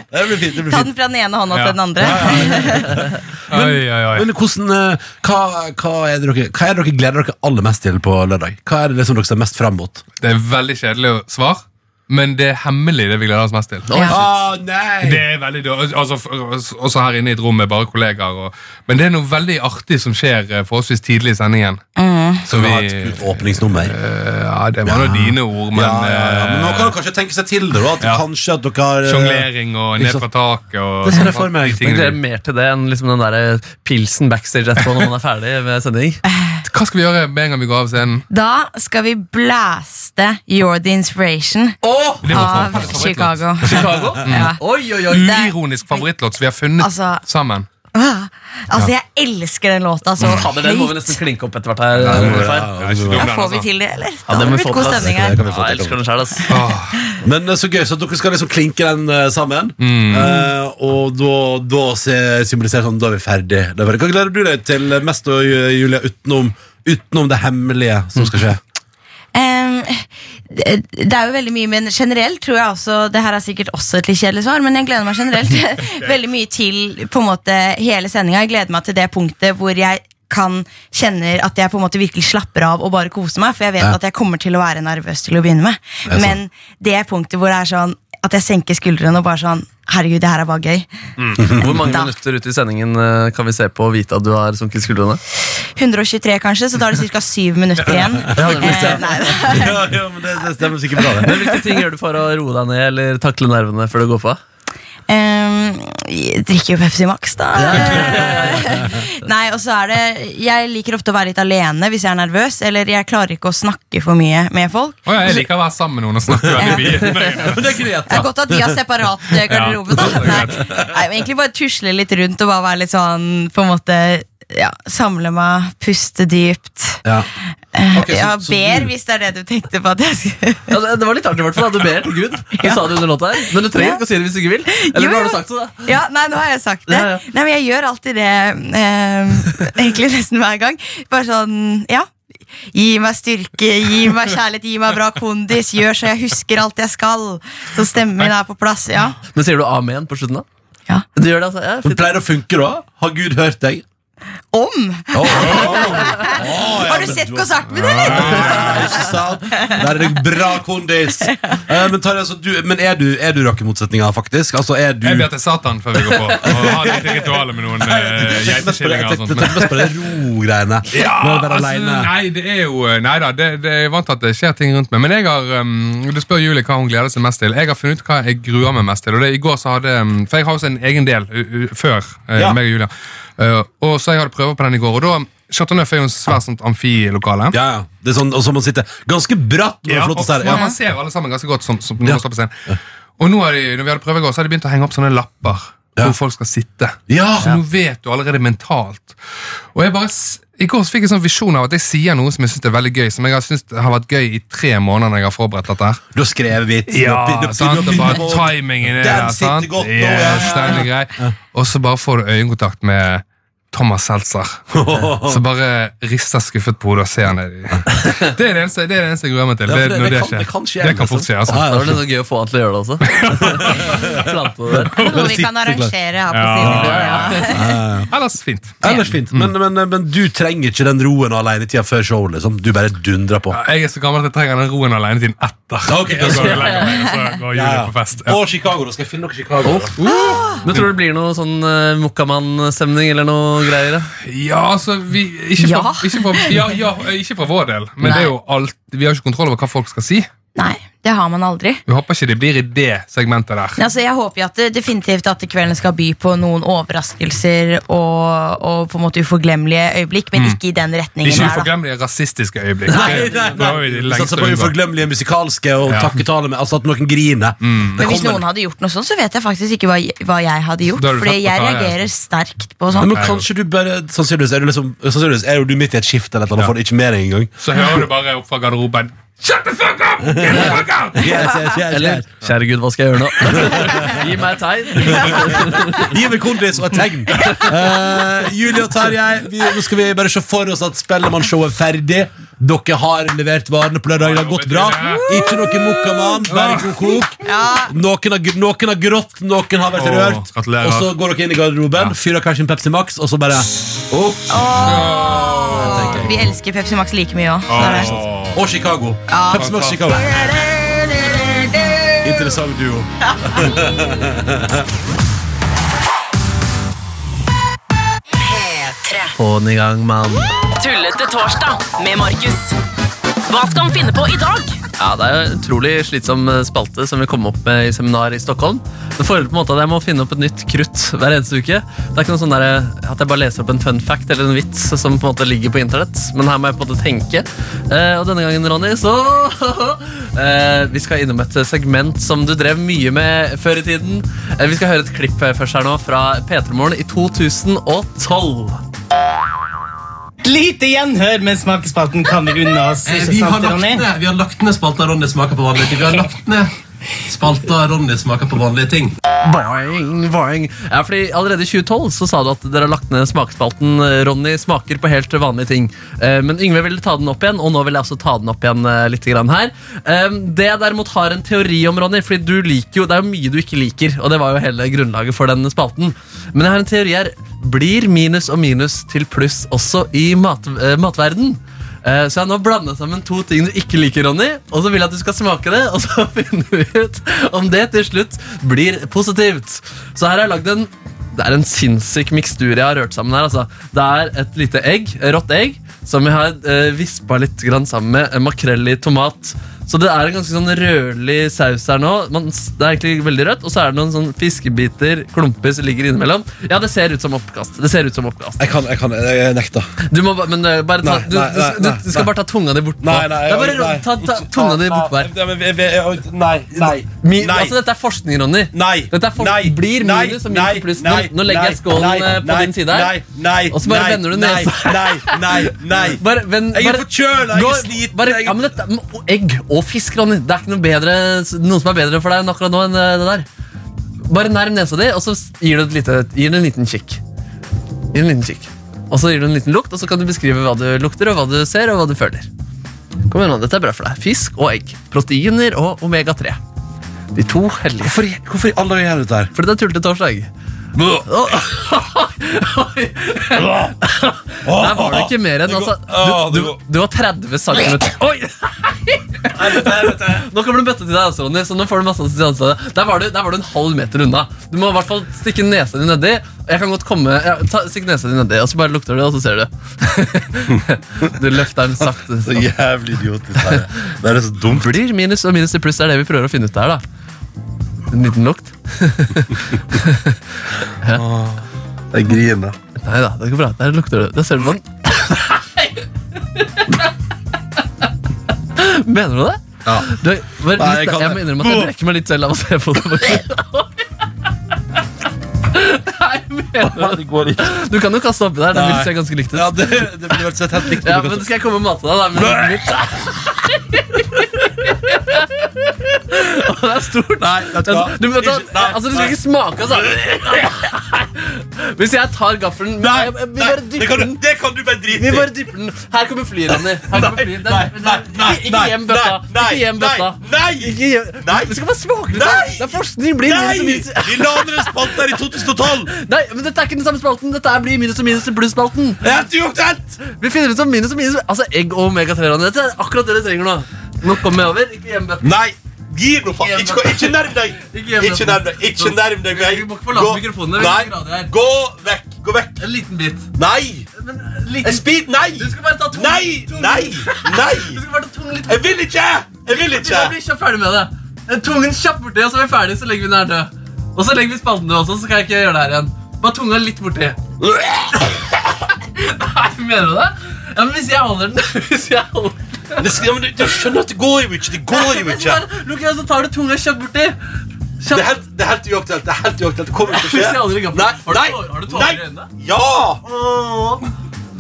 Det, det, det blir fint. det blir
Ta
fint
den fra den ene hånda
Ja.
til den andre.
Oi, oi, oi.
Men hvordan, eh, hva, hva, er det dere, hva er det dere gleder dere aller mest til på lørdag? Hva er det liksom dere ser mest fram mot?
Det er veldig kjedelig å svar, men det er hemmelig det vi gleder oss mest til.
Å Ah, nei!
Det er veldig dårlig, altså, for- Også her inne i et rom med bare kollegaer. Og, men det er noe veldig artig som skjer eh, forholdsvis tidlig i sendingen.
Mm.
Så
vi
vi,
har et kult åpningsnummer.
ja, det var nå dine ord, men,
ja, ja, ja. Men man
eh,
kan jo kanskje tenke seg til det. da, At
Ja.
kanskje at dere har eh,
Sjonglering og
Ikke
ned
sant?
fra taket og
Det ser jeg for meg.
de
Jeg
tingene
gleder
vi-
mer til det enn liksom den der pilsen backstage etterpå når man er ferdig med sending.
Hva skal vi gjøre med en gang vi går av scenen?
Da skal vi blaste You're the Inspiration
Det er vår
av
favorittlåt.
Chicago.
Chicago? Oi, oi, oi.
Uironisk favorittlåt som vi har funnet
Altså-
sammen.
Altså, jeg elsker den låta så
Fader, den må vi nesten klinke opp etter hvert her. Ja,
Ja, ikke dum
Ja, får
den,
vi
altså.
til det, eller?
det
Da hadde
må
det
vi
blitt
få
god
på plass.
stemning
Det
her.
kan vi få
jeg
til.
elsker den sjæl, ass.
Åh,
Men eh, så gøy, så dere skal liksom klinke den eh, sammen.
Mm.
Eh, og da, da se- symboliserer sånn Da er vi ferdig. Da er vi ferdig. Hva gleder du deg til eh, mest, da, Julia, utenom, utenom det hemmelige som skal skje?
Ehm, det det er jo veldig mye, men generelt tror jeg også Det her er sikkert også et litt kjedelig svar, men jeg gleder meg generelt veldig mye til på en måte hele sendinga. Jeg gleder meg til det punktet hvor jeg kan kjenner at jeg på en måte virkelig slapper av og bare koser meg, for jeg vet
Ja.
at jeg kommer til å være nervøs til å begynne med.
er sant.
Men det punktet hvor det er sånn at jeg senker skuldrene og bare sånn Herregud, det her er bare gøy.
Mm.
Hvor mange
Da.
minutter ut i sendingen eh, kan vi se på og vite at du har sunket skuldrene?
123 kanskje, så da er det ca. syv minutter igjen. Eh, nei,
Mm.
ja, ja, men det, det stemmer sikkert bra, det.
Men Hvilke ting gjør du for å roe deg ned eller takle nervene før du går på?
Ehm, jeg drikker jo Pepsi Max, da. Nei, og så er det Jeg liker ofte å være litt alene hvis jeg er nervøs, eller jeg klarer ikke å snakke for mye med folk.
Åh, jeg liker å være sammen med noen og snakke veldig mye.
Det er godt at de har separat eh, garderobe, da.
Ja, det
Nei,
er
nei, men egentlig bare tusle litt rundt og bare være litt sånn på en måte ja, Samle meg, puste dypt.
Ja. Ok, så-
ja,
så du-
ber, hvis det er det du tenkte på at jeg skulle
Ja, det, det var litt artig i hvert fall. da. Du ber til Gud. Du sa det under låta her. Men du trenger ikke å si det hvis du ikke vil. Eller
Jo,
nå
jo.
har du sagt det, da.
Ja, nei, nå har jeg sagt det.
Ja, ja.
Nei, men Jeg gjør alltid det eh, egentlig nesten hver gang. Bare sånn, ja. Gi meg styrke, gi meg kjærlighet, gi meg bra kondis. Gjør så jeg husker alt jeg skal. Så stemmen min er på plass. ja.
Men sier du amen på slutten, da?
Ja.
Du gjør det, altså? Ja,
Men
fint.
pleier det å funke, da? Har Gud hørt deg?
Om!
Å, å, å.
Har du sett konserten min, eller?
Nei, ikke sant? Der er det bra kondis. Eh, men Tarjei, altså, du, men er du, er du rakkemotsetninga, faktisk? Altså, er du
Jeg ber til Satan før vi går på. Og har litt ritualer med noen eh,
Jeg tenkte mest på det-
geitekillinger
jeg
og
tenkte
sånt. men- altså,
mest på det ro-greiene. Nå er det bare alene.
nei, det er jo Nei da, det, det er vant til at det skjer ting rundt meg. Men jeg har um, du spør Julie hva hun gleder seg mest til. Jeg har funnet ut hva jeg gruer meg mest til. Og det, i går så hadde um, For jeg har også en egen del u, u, før uh,
Ja.
meg og Julia. Uh, og så jeg hadde prøver på den i går. Og da Chateau Neuf er jo en svært sånt amfilokale.
Ja, ja. Det er sånn, og så må man sitte ganske bratt. når det er
Ja,
flott
og
å se her.
man-
Ja.
Man ser alle sammen ganske godt som, som når
Ja.
man står på scenen. Og nå har de, når vi hadde prøve i går, så har de begynt å henge opp sånne lapper
Ja.
hvor folk skal sitte.
Ja.
Så nå vet du allerede mentalt. Og jeg bare, s- I går så fikk jeg en sånn visjon av at jeg sier noe som jeg synes er veldig gøy, som jeg har syntes har vært gøy i tre måneder når jeg har forberedt dette her.
Du har skrevet vits. du har- du har- du har-
sant?
du
Og
har-
bare timingen er
Den
der,
sitter
sant?
godt nå, ja, ja,
Yes,
ja.
den er grei. Og så bare får du øyekontakt med Thomas Seltzer. Så bare rister skuffet på hodet og ser ned i Det er det eneste, det er det eneste jeg gruer meg til.
Ja, for
Det,
det-
når
det
det,
kan-
skjer.
det kan skje, liksom.
Det kan fort skje, altså.
Ja,
Da
ja.
var det noe gøy å få han til å gjøre det også. Plante det der.
Det er noe vi kan arrangere her på
Ja,
siden. Ja.
Ellers fint.
Ellers fint. Men,
Mm.
men, men du trenger ikke den roen og alenetida før showet. Liksom. Du bare dundrer på.
Jeg er så gammel at jeg trenger den roen alene tiden etter.
ok.
Da går jeg og legger meg, og så går Julie på fest. Ja.
Og Chicago. Da skal jeg finne noe Chicago.
Oh. Men tror du det blir noe sånn uh, Mokkamann-stemning eller noe greier? da?
Ja, altså vi, ikke, fra,
Ja.
ikke, fra, ja, ja, ikke fra vår del, men det er jo alt, vi har jo ikke kontroll over hva folk skal si.
Nei, Det har man aldri.
Du håper ikke det blir i det segmentet der.
Altså, jeg håper jo at det, definitivt at kvelden skal by på noen overraskelser og, og på en måte uforglemmelige øyeblikk,
Mm.
men ikke i den retningen.
Ikke
der, da.
uforglemmelige rasistiske øyeblikk.
Nei,
Det- da var vi de lengste
Satser på
unna.
uforglemmelige musikalske og
Ja. Mm.
takketale med Altså at noen griner. Det
Men hvis
kommer.
noen hadde gjort noe sånt, så vet jeg faktisk ikke hva, jeg- hva jeg hadde gjort.
Da hadde du
Fordi
tatt på altså.
jeg
deg,
reagerer sterkt på
Nei,
sånt.
men kanskje du bare Sannsynligvis er du, liksom, sannsynligvis er jo du midt i et skifte eller et eller annet, får det ikke med deg engang.
Så hører du bare opp fra garderoben Shut the fuck up! Get the fuck out!
Yes, yes, yes,
Eller
yes.
Kjære Gud, hva skal jeg gjøre nå? Gi meg et tegn.
Gi meg kondis og et tegn. Eh, Julie og Tarjei, vi, nå skal vi bare se for oss at Spellemannshowet er ferdig. Dere har levert varene på lørdag. Det har gått bra. Ikke noe mokkamann, bare god kok. Noen har, gr- noen har grått, noen har vært
Åh,
rørt.
gratulerer.
Og så går dere inn i garderoben, fyrer kanskje en Pepsi Max, og så bare
Vi elsker Pepsi Max like mye
Ah,
òg.
Åh.
Og Chicago. Pepsi Max Chicago. Interessant duo.
Få den i gang, mann.
Tullete torsdag med Markus. Hva skal han finne på i dag?
Ja, Det er jo en utrolig slitsom eh, spalte som vi kom opp med i seminar i Stockholm. Men fordelen på en måte er at jeg må finne opp et nytt krutt hver eneste uke. Det er ikke noe sånn der, eh, at jeg bare leser opp en fun fact eller en vits som på en måte ligger på internett. Men her må jeg på en måte tenke. Eh, og denne gangen, Ronny, så eh, Vi skal innom et segment som du drev mye med før i tiden. Eh, vi skal høre et klipp eh, først her nå fra P3 Morgen i 2012.
Lite gjenhør, men smakespalten kan vi unne oss. Ikke sant, Ronny?
vi har lagt ned spalta Ronny smaker på vanlige ting. Vi har lagt ned spalta Ronny smaker på vanlige ting.
Boing, boing. Ja, fordi Allerede i 2012 så sa du at dere har lagt ned smakspalten eh, Ronny smaker på helt vanlige ting. Eh, Men Yngve ville ta den opp igjen, og nå vil jeg også ta den opp igjen eh, litt grann her. Eh, Det jeg derimot har en teori om, Ronny, fordi du liker jo, det er jo mye du ikke liker, og det var jo hele grunnlaget for den spalten. Men jeg har en teori her. Blir minus og minus til pluss også i mat, eh, matverden? Eh, Så jeg har nå blanda sammen to ting du ikke liker, Ronny. Og så vil jeg at du skal smake det, og så finner vi ut om det til slutt blir positivt. Så her har jeg lagd en det er en sinnssyk mikstur jeg har rørt sammen her. altså. Det er et lite egg, rått egg som jeg har eh, vispa litt grann sammen med eh, makrell i tomat. Så det er en ganske sånn rødlig saus her nå. Man, det er egentlig veldig rødt, Og så er det noen sånn fiskebiter, klumper, som ligger innimellom. Ja, det ser ut som oppkast. Det ser ut som oppkast.
Jeg kan, jeg kan, jeg nekter.
Du må ba- men eh, bare ta,
Nei,
du,
nei,
du,
nei,
du,
nei,
du skal
nei.
bare ta tunga di bortpå.
Nei, nei,
det er bare
jeg- nei.
ro- ta, ta tunga di bortpå her.
Ja, men vi- vi- Nei, nei.
Mi-
Nei.
Altså, dette er forskning, Ronny.
Nei,
Dette er for,
nei,
blir
nei,
minus og
nei,
minus pluss. Nå,
nei,
nå legger jeg
nei,
skålen
nei,
eh, på
nei,
din side her.
Nei, nei,
Og så bare
nei,
vender du
nei,
nesa.
Nei, nei, nei.
Bare, vend-
Jeg er
bare-
forkjøla, jeg
gå-
er sliten.
Bare,
jeg-
ja, men dette, og egg og fisk, Ronny. Det er ikke noe, bedre, noe som er bedre for deg enn akkurat nå enn eh, det der. Bare nærm nesa di, og så gir du, et lite, gir du en liten kikk. Gir en liten kikk. Og så gir du en liten lukt, og så kan du beskrive hva du lukter, og hva du ser, og hva du føler. Kom igjen, Ronny, dette er bra for deg. Fisk og egg. Proteiner og omega-3. De to hellige.
Hvorfor, hvorfor i alle dager gjør du dette her?
Fordi det er tullete torsdag. Oi. Der var det ikke mer enn altså,
Ah,
du, du, du var 30 centimeter Oi! Nå kommer det en bøtte til deg, også, Ronny. Så nå får du masse assistanse. Der, var du- der var du en halv meter unna. Du må i hvert fall stikke nesa di nedi. og Jeg kan godt komme ja, ta, Stikk nesa di nedi, og så bare lukter du, og så ser du. Du løfter den sakte.
Så jævlig idiotisk. er det. Det er så dumt.
Blir minus og minus til pluss, det er det vi prøver å finne ut der, da. En liten lukt.
Jeg griner.
Nei da, det går bra. Der lukter det. Der ser du på den. Mener du det?
Ja.
Du, er- bare,
Nei, jeg
litt,
kan
jeg må
det.
innrømme at jeg brekker meg litt selv av å se på det. Nei, mener du? Du kan jo kaste oppi der. Det vil se ganske likt ut.
Ja, det, det blir vel sett helt likt.
Ja, men Skal jeg komme og mate deg, da? Med noe nytt? Å, det er stort.
Nei, vet du hva?
Altså, du, vet, hva?
Ikke- nei,
altså, du skal
nei.
ikke smake, altså. Hvis jeg tar gaffelen
Nei,
jeg- jeg- Vi
nei,
bare
det
dypper
kan,
den.
du, det kan du bare drite
Vi
i.
bare dypper den. Her kommer flyet, Ronny. Her kommer flyet. Den-
Nei, nei,
den-
nei,
ikke
nei,
hjem bøtta.
nei,
Ikke hjem
nei,
bøtta.
nei,
Ikke hjem.
nei.
Vi skal bare smake litt.
Nei.
Det er forskning. Blir minus og
Nei!
minus.
Vi la ned en spalte her i 2012!
Nei, men Dette er ikke den samme spalten. Dette er blir minus og minus til pluss-spalten.
Det er ikke omtrent!
Vi finner ut som minus og minus. Altså, Egg og omega-3. Ronny. Dette er akkurat det dere trenger nå. Nå kommer jeg over. Ikke hjem bøtta.
Nei! Gi nå faen! Ikke, ikke nærm deg!
Ikke hjem,
Ikke nærm deg Ikke nærm deg meg!
Vi må ikke forlate mikrofonene, vi er
Nei,
ikke glad i det her.
Gå vekk! Gå vekk!
En liten bit.
Nei!
men like,
Speed, nei!
Du skal bare ta to
Nei!
to-
Nei! Nei!
Du skal bare ta tungen litt
Jeg vil ikke! Jeg vil ikke!
Da blir vi kjapt ferdig med det. Eh, Tungen kjapt borti, og så er vi ferdig, så legger vi den her død. Og så legger vi spalten død også, så kan jeg ikke gjøre det her igjen. Bare tunga litt borti. Nei, mener du det? Ja, men hvis jeg holder den Hvis jeg holder den
Det skal, ja, men du, du skjønner at det går jo ikke! Det går jo
Hvis
ikke!
jeg bare lukker øynene, så tar du tunga kjapt borti.
Det er
Kjapt.
helt, det er helt uaktuelt. Det er helt uaktuelt. Det kommer ikke til
Hvis jeg
å skje.
aldri gaper.
Nei,
Har du
nei,
tårer- har du tårer i øynene?
nei. Ja!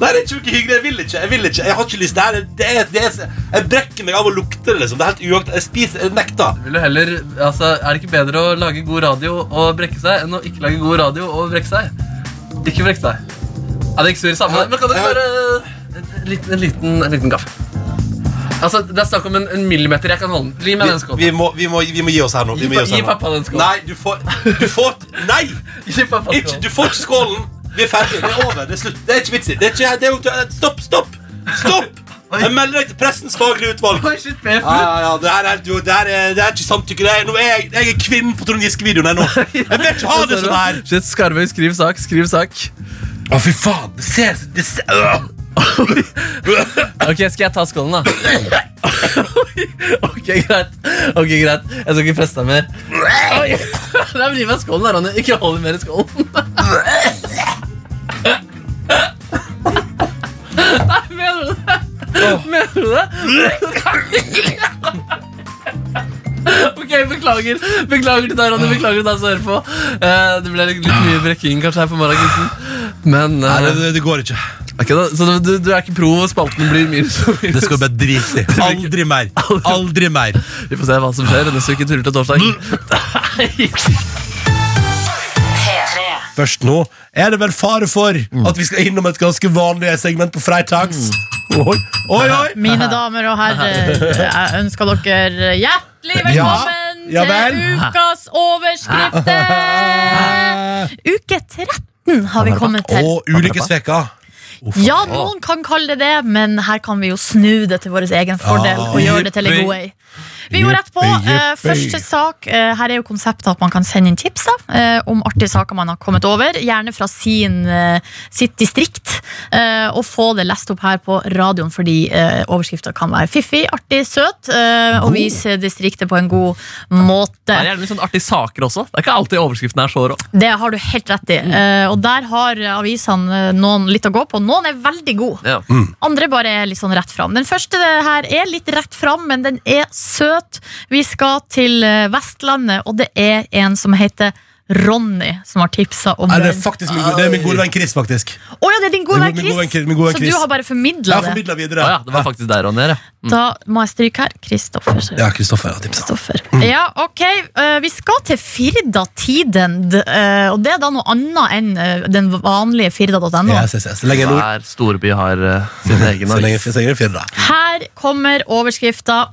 Nei, det er ikke noe hyggelig. Jeg vil ikke. Jeg vil ikke. Jeg har ikke lyst. Det er, det er, det er, jeg brekker meg av å lukte det. liksom. Det er helt uaktuelt. Jeg spiser, jeg nekter.
Vil du heller, altså, er det ikke bedre å lage god radio og brekke seg enn å ikke lage god radio og brekke seg? Ikke brekke seg. Ja, det er ikke sur samme. Men kan dere bare en liten, en liten, en liten gaffel? Altså, det er snakk om en, en millimeter. Jeg kan holde den. Gi meg den
Vi,
skålen.
vi, må, vi, må, vi må gi oss her nå. Vi
Gi
må gi
pa-
oss her
gi
nå.
pappa den skålen.
Nei, du får, du får Nei!
Gi pappa skålen.
Ikke, du får ikke skålen. Vi er ferdige. Det er over. Det er slutt. Det er ikke vits i. Det er ikke, det er, jo- stopp, stopp! Stopp! Jeg melder deg til Pressens faglige utvalg.
Oi, shit, med
Ja, ja, ja, det her er, jo, det her er, det er ikke samtykke. Det er, nå er jeg, jeg er kvinnen på Trond Giske-videoen her nå. Jeg vil ikke ha det sånn her.
Shit, Skarvøy, skriv sak. Skriv sak.
Å, fy faen. Det ser, det ser øh.
Ok, skal jeg ta skålen, da? Oi, ok, greit. Ok, greit. Jeg skal ikke presse deg mer. Oi. Nei, men Gi meg skålen, da, Ronny. Ikke hold mer i skålen. Nei, mener du det? Mener du det? Ok, beklager. Beklager til deg, Ronny. Beklager til deg som hører på. Eh, Det ble litt, litt mye brekking kanskje her på morgenkvisten. Men eh,
Nei, det, det går ikke.
ok da. Så du, du er ikke pro spalten blir minus og minus?
Det skal du bare drite i. Aldri mer. Aldri mer.
Vi får se hva som skjer neste uke. Tuller til torsdag.
Først nå er det vel fare for at vi skal innom et ganske vanlig segment på freitags.
Mm.
Oi, oi, oi!
Mine damer og herrer, jeg ønsker dere hjertelig velkommen
Ja. Ja vel.
til ukas overskrifter! Uke 13 har vi kommet til.
Og ulykkesveka.
Ja, noen kan kalle det det, men her kan vi jo snu det til vår egen fordel og gjøre det til en god vei. Vi går rett på. eh, første sak. eh, her er jo konseptet at man kan sende inn tips da, eh, om artige saker man har kommet over. Gjerne fra sin, eh, sitt distrikt. eh, og få det lest opp her på radioen, fordi uh, overskrifta kan være fiffig, artig, søt. eh, og vise distriktet på en god måte.
Det er gjerne litt sånn artige saker også. Det er ikke alltid overskriften er så rå.
Det har du helt rett i. Eh, og der har avisene eh, noen litt å gå på. Noen er veldig gode.
Ja.
Andre bare er litt sånn rett fram. Den første her er litt rett fram, men den er søt. Vi skal til eh, Vestlandet, og det er en som heter Ronny, som har tipsa om
Nei, det
den.
er faktisk min, gode- det er min gode venn Chris, faktisk.
Å ja, det er din
Min-
gode venn
min gode venn
Chris!
Chris, min gode venn
Så
Chris.
du har bare
Jeg
formidla
har
det.
formidla
Å
videre.
ja, det var faktisk deg, Ronny. her, ja.
Da må jeg stryke her. Kristoffer. så-
Ja, Kristoffer har tipsa.
Kristoffer. Ja, ok. Eh, vi skal til Firda Tidend, eh, og det er da noe annet enn eh, den vanlige firda.no.
Yes, yes, yes. Så lenge nord,
Hver storby har eh, sin egen
så lenge,
avis.
så lenge fjell, da.
Her kommer overskrifta.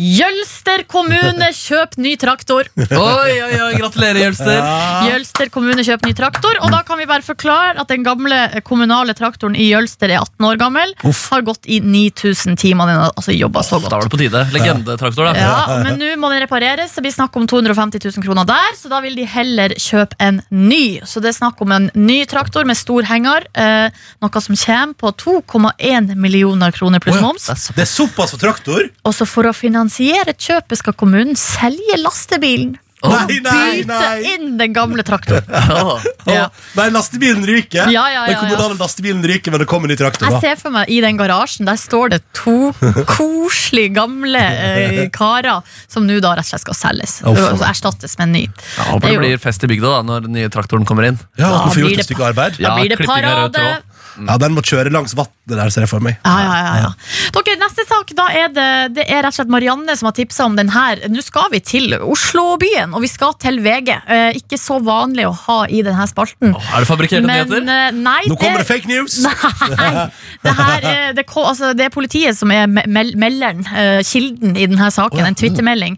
Jølster kommune, kjøp ny traktor.
Oi, oi, oi, gratulerer, Jølster.
Ah.
Jølster kommune, kjøp ny traktor. Og da kan vi bare forklare at den gamle eh, kommunale traktoren i Jølster er 18 år gammel. Har gått i 9000 timer. Den har altså jobba så
Sånn, Da
godt.
var det på tide. Legendetraktor, da.
Ja, Men nå må den repareres. Det blir snakk om 250 000 kroner der, så da vil de heller kjøpe en ny. Så det er snakk om en ny traktor med stor henger, eh, noe som kommer på 2,1 millioner kroner pluss moms.
Det er såpass for traktor!
Og så for å finansiere kjøpet skal kommunen selge lastebilen.
Nei, nei,
Bytte
nei!
inn den gamle traktoren.
Åh.
Å,
Ja.
Nei, lastebilen ryker.
Ja, ja, ja,
Den kommunale lastebilen ryker, men det kommer en ny traktor.
Jeg
da.
ser for meg i den garasjen, der står det to koselige gamle eh, karer som nå da rett og slett skal selges.
Å, faen.
og erstattes med en ny.
Jeg håper
Det
det
er jo-
blir fest i bygda da, når den nye traktoren kommer inn.
Ja,
Da
du får
blir
gjort
det
et stykke arbeid.
Da
Ja,
blir det
klipping av
parade.
rød tråd.
Ja, Den må kjøre langs vannet der, ser jeg for meg.
Ja, ja, ja, ja. Dere, neste sak da er det, det er rett og slett Marianne som har tipsa om den her. Nå skal vi til Oslo-byen, og vi skal til VG. Eh, ikke så vanlig å ha i denne spalten.
Åh, Er det fabrikkerte nyheter?
eh, nei,
Nå kommer det fake news!
Nei, det, her er, det, ko- altså, det er politiet som er me- mel melderen, eh, kilden i denne saken. En twittermelding.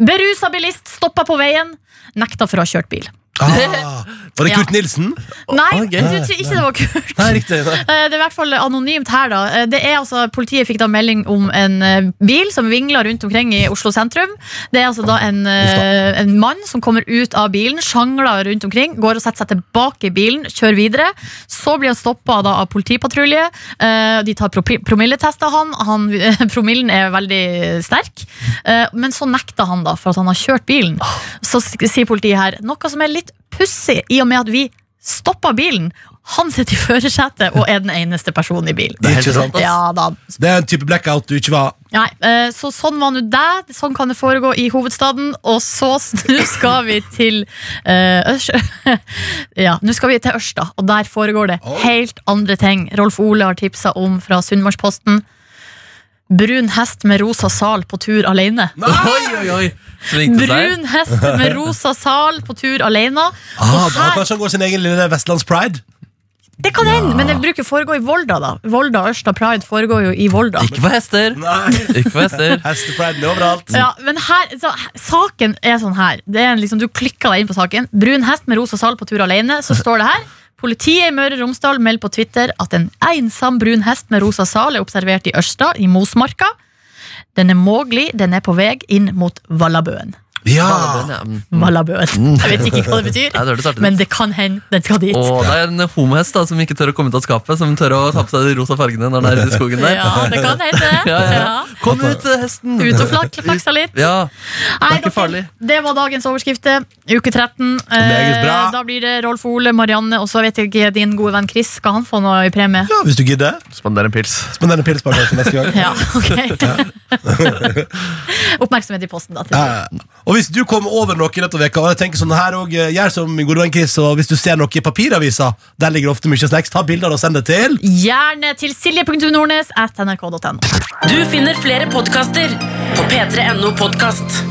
Berusa bilist stoppa på veien, nekta for å ha kjørt bil.
Ah, var det Kurt Nilsen?
Nei,
ok.
jeg tror ikke det var Kurt.
Nei, riktig. Nei.
Eh, Det er i hvert fall anonymt her, da. Eh, Det er altså, Politiet fikk da melding om en eh, bil som vingla rundt omkring i Oslo sentrum. Det er altså da en, eh, en mann som kommer ut av bilen, sjangler rundt omkring, går og setter seg tilbake i bilen, kjører videre. Så blir han stoppa av politipatrulje. Eh, De tar propi- promilletest av han. han promillen er veldig sterk. Eh, Men så nekter han da for at han har kjørt bilen. Så s- sier politiet her noe som er litt pussig, i og med at vi stoppa bilen. Han sitter i førersetet og er den eneste personen i bilen.
Det er helt sant, ass.
Ja da.
Det er en type blackout du ikke var.
Nei, eh, så sånn var nå det. Sånn kan det foregå i hovedstaden. Og så s- nå skal vi til eh, Ørs... Ja, nå skal vi til Ørsta, og der foregår det helt andre ting. Rolf Ole har tipsa om fra Sunnmørsposten. Brun hest med rosa sal på tur alene.
Oi, oi, oi!
eh,
Svingte seg.
Brun hest med rosa sal på tur alene.
Ah,
Og
da,
her-
kanskje han går sin egen lille Vestlandspride?
Det kan hende, men det bruker å foregå i Volda, da. Volda Ørsta Pride foregår jo i Volda.
Ikke for hester. Ikke for hester.
Hestepriden er overalt.
Ja, men her, så, Saken er sånn her. Det er en liksom, du klikker deg inn på saken. Brun hest med rosa sal på tur alene. Så står det her. Politiet i Møre og Romsdal melder på Twitter at en ensom brun hest med rosa sal er observert i Ørsta, i Mosmarka. Den er mulig den er på vei inn mot Vallabøen.
Ja.
Ja, men-
Vallabøen. Jeg vet ikke hva det
Nei, Mm. det
betyr,
var det startet.
men det kan hende den skal dit.
Og det er en homohest da, som ikke tør å komme ut av skapet, som tør å ta på seg de rosa fargene når den er ute i skogen der.
Ja, det kan hende det.
Ja, ja.
Ja.
Kom ut, eh, hesten!
Ut og flak- flaksa litt.
Ja,
Nei,
ikke
da-
farlig.
Det var dagens overskrifter. Uke 13.
Meget bra.
da blir det Rolf Ole, Marianne og så vet jeg ikke din gode venn Chris. Skal han få noe i premie?
ja, hvis du gidder.
Spander en pils.
Spend denne pilspakken til neste gang.
Ja, ok Oppmerksomhet i posten, da. Til.
Ja, ja. Og hvis du kommer over noe i løpet av veka, og jeg tenker sånn her og, eh, gjør som min gode venn Chris, og hvis du ser noe i papiravisa, der ligger det ofte mye snacks, ta bilder og send det til.
Gjerne til silje.nordnes at nrk.no.
Du finner flere podkaster på p3.no podkast.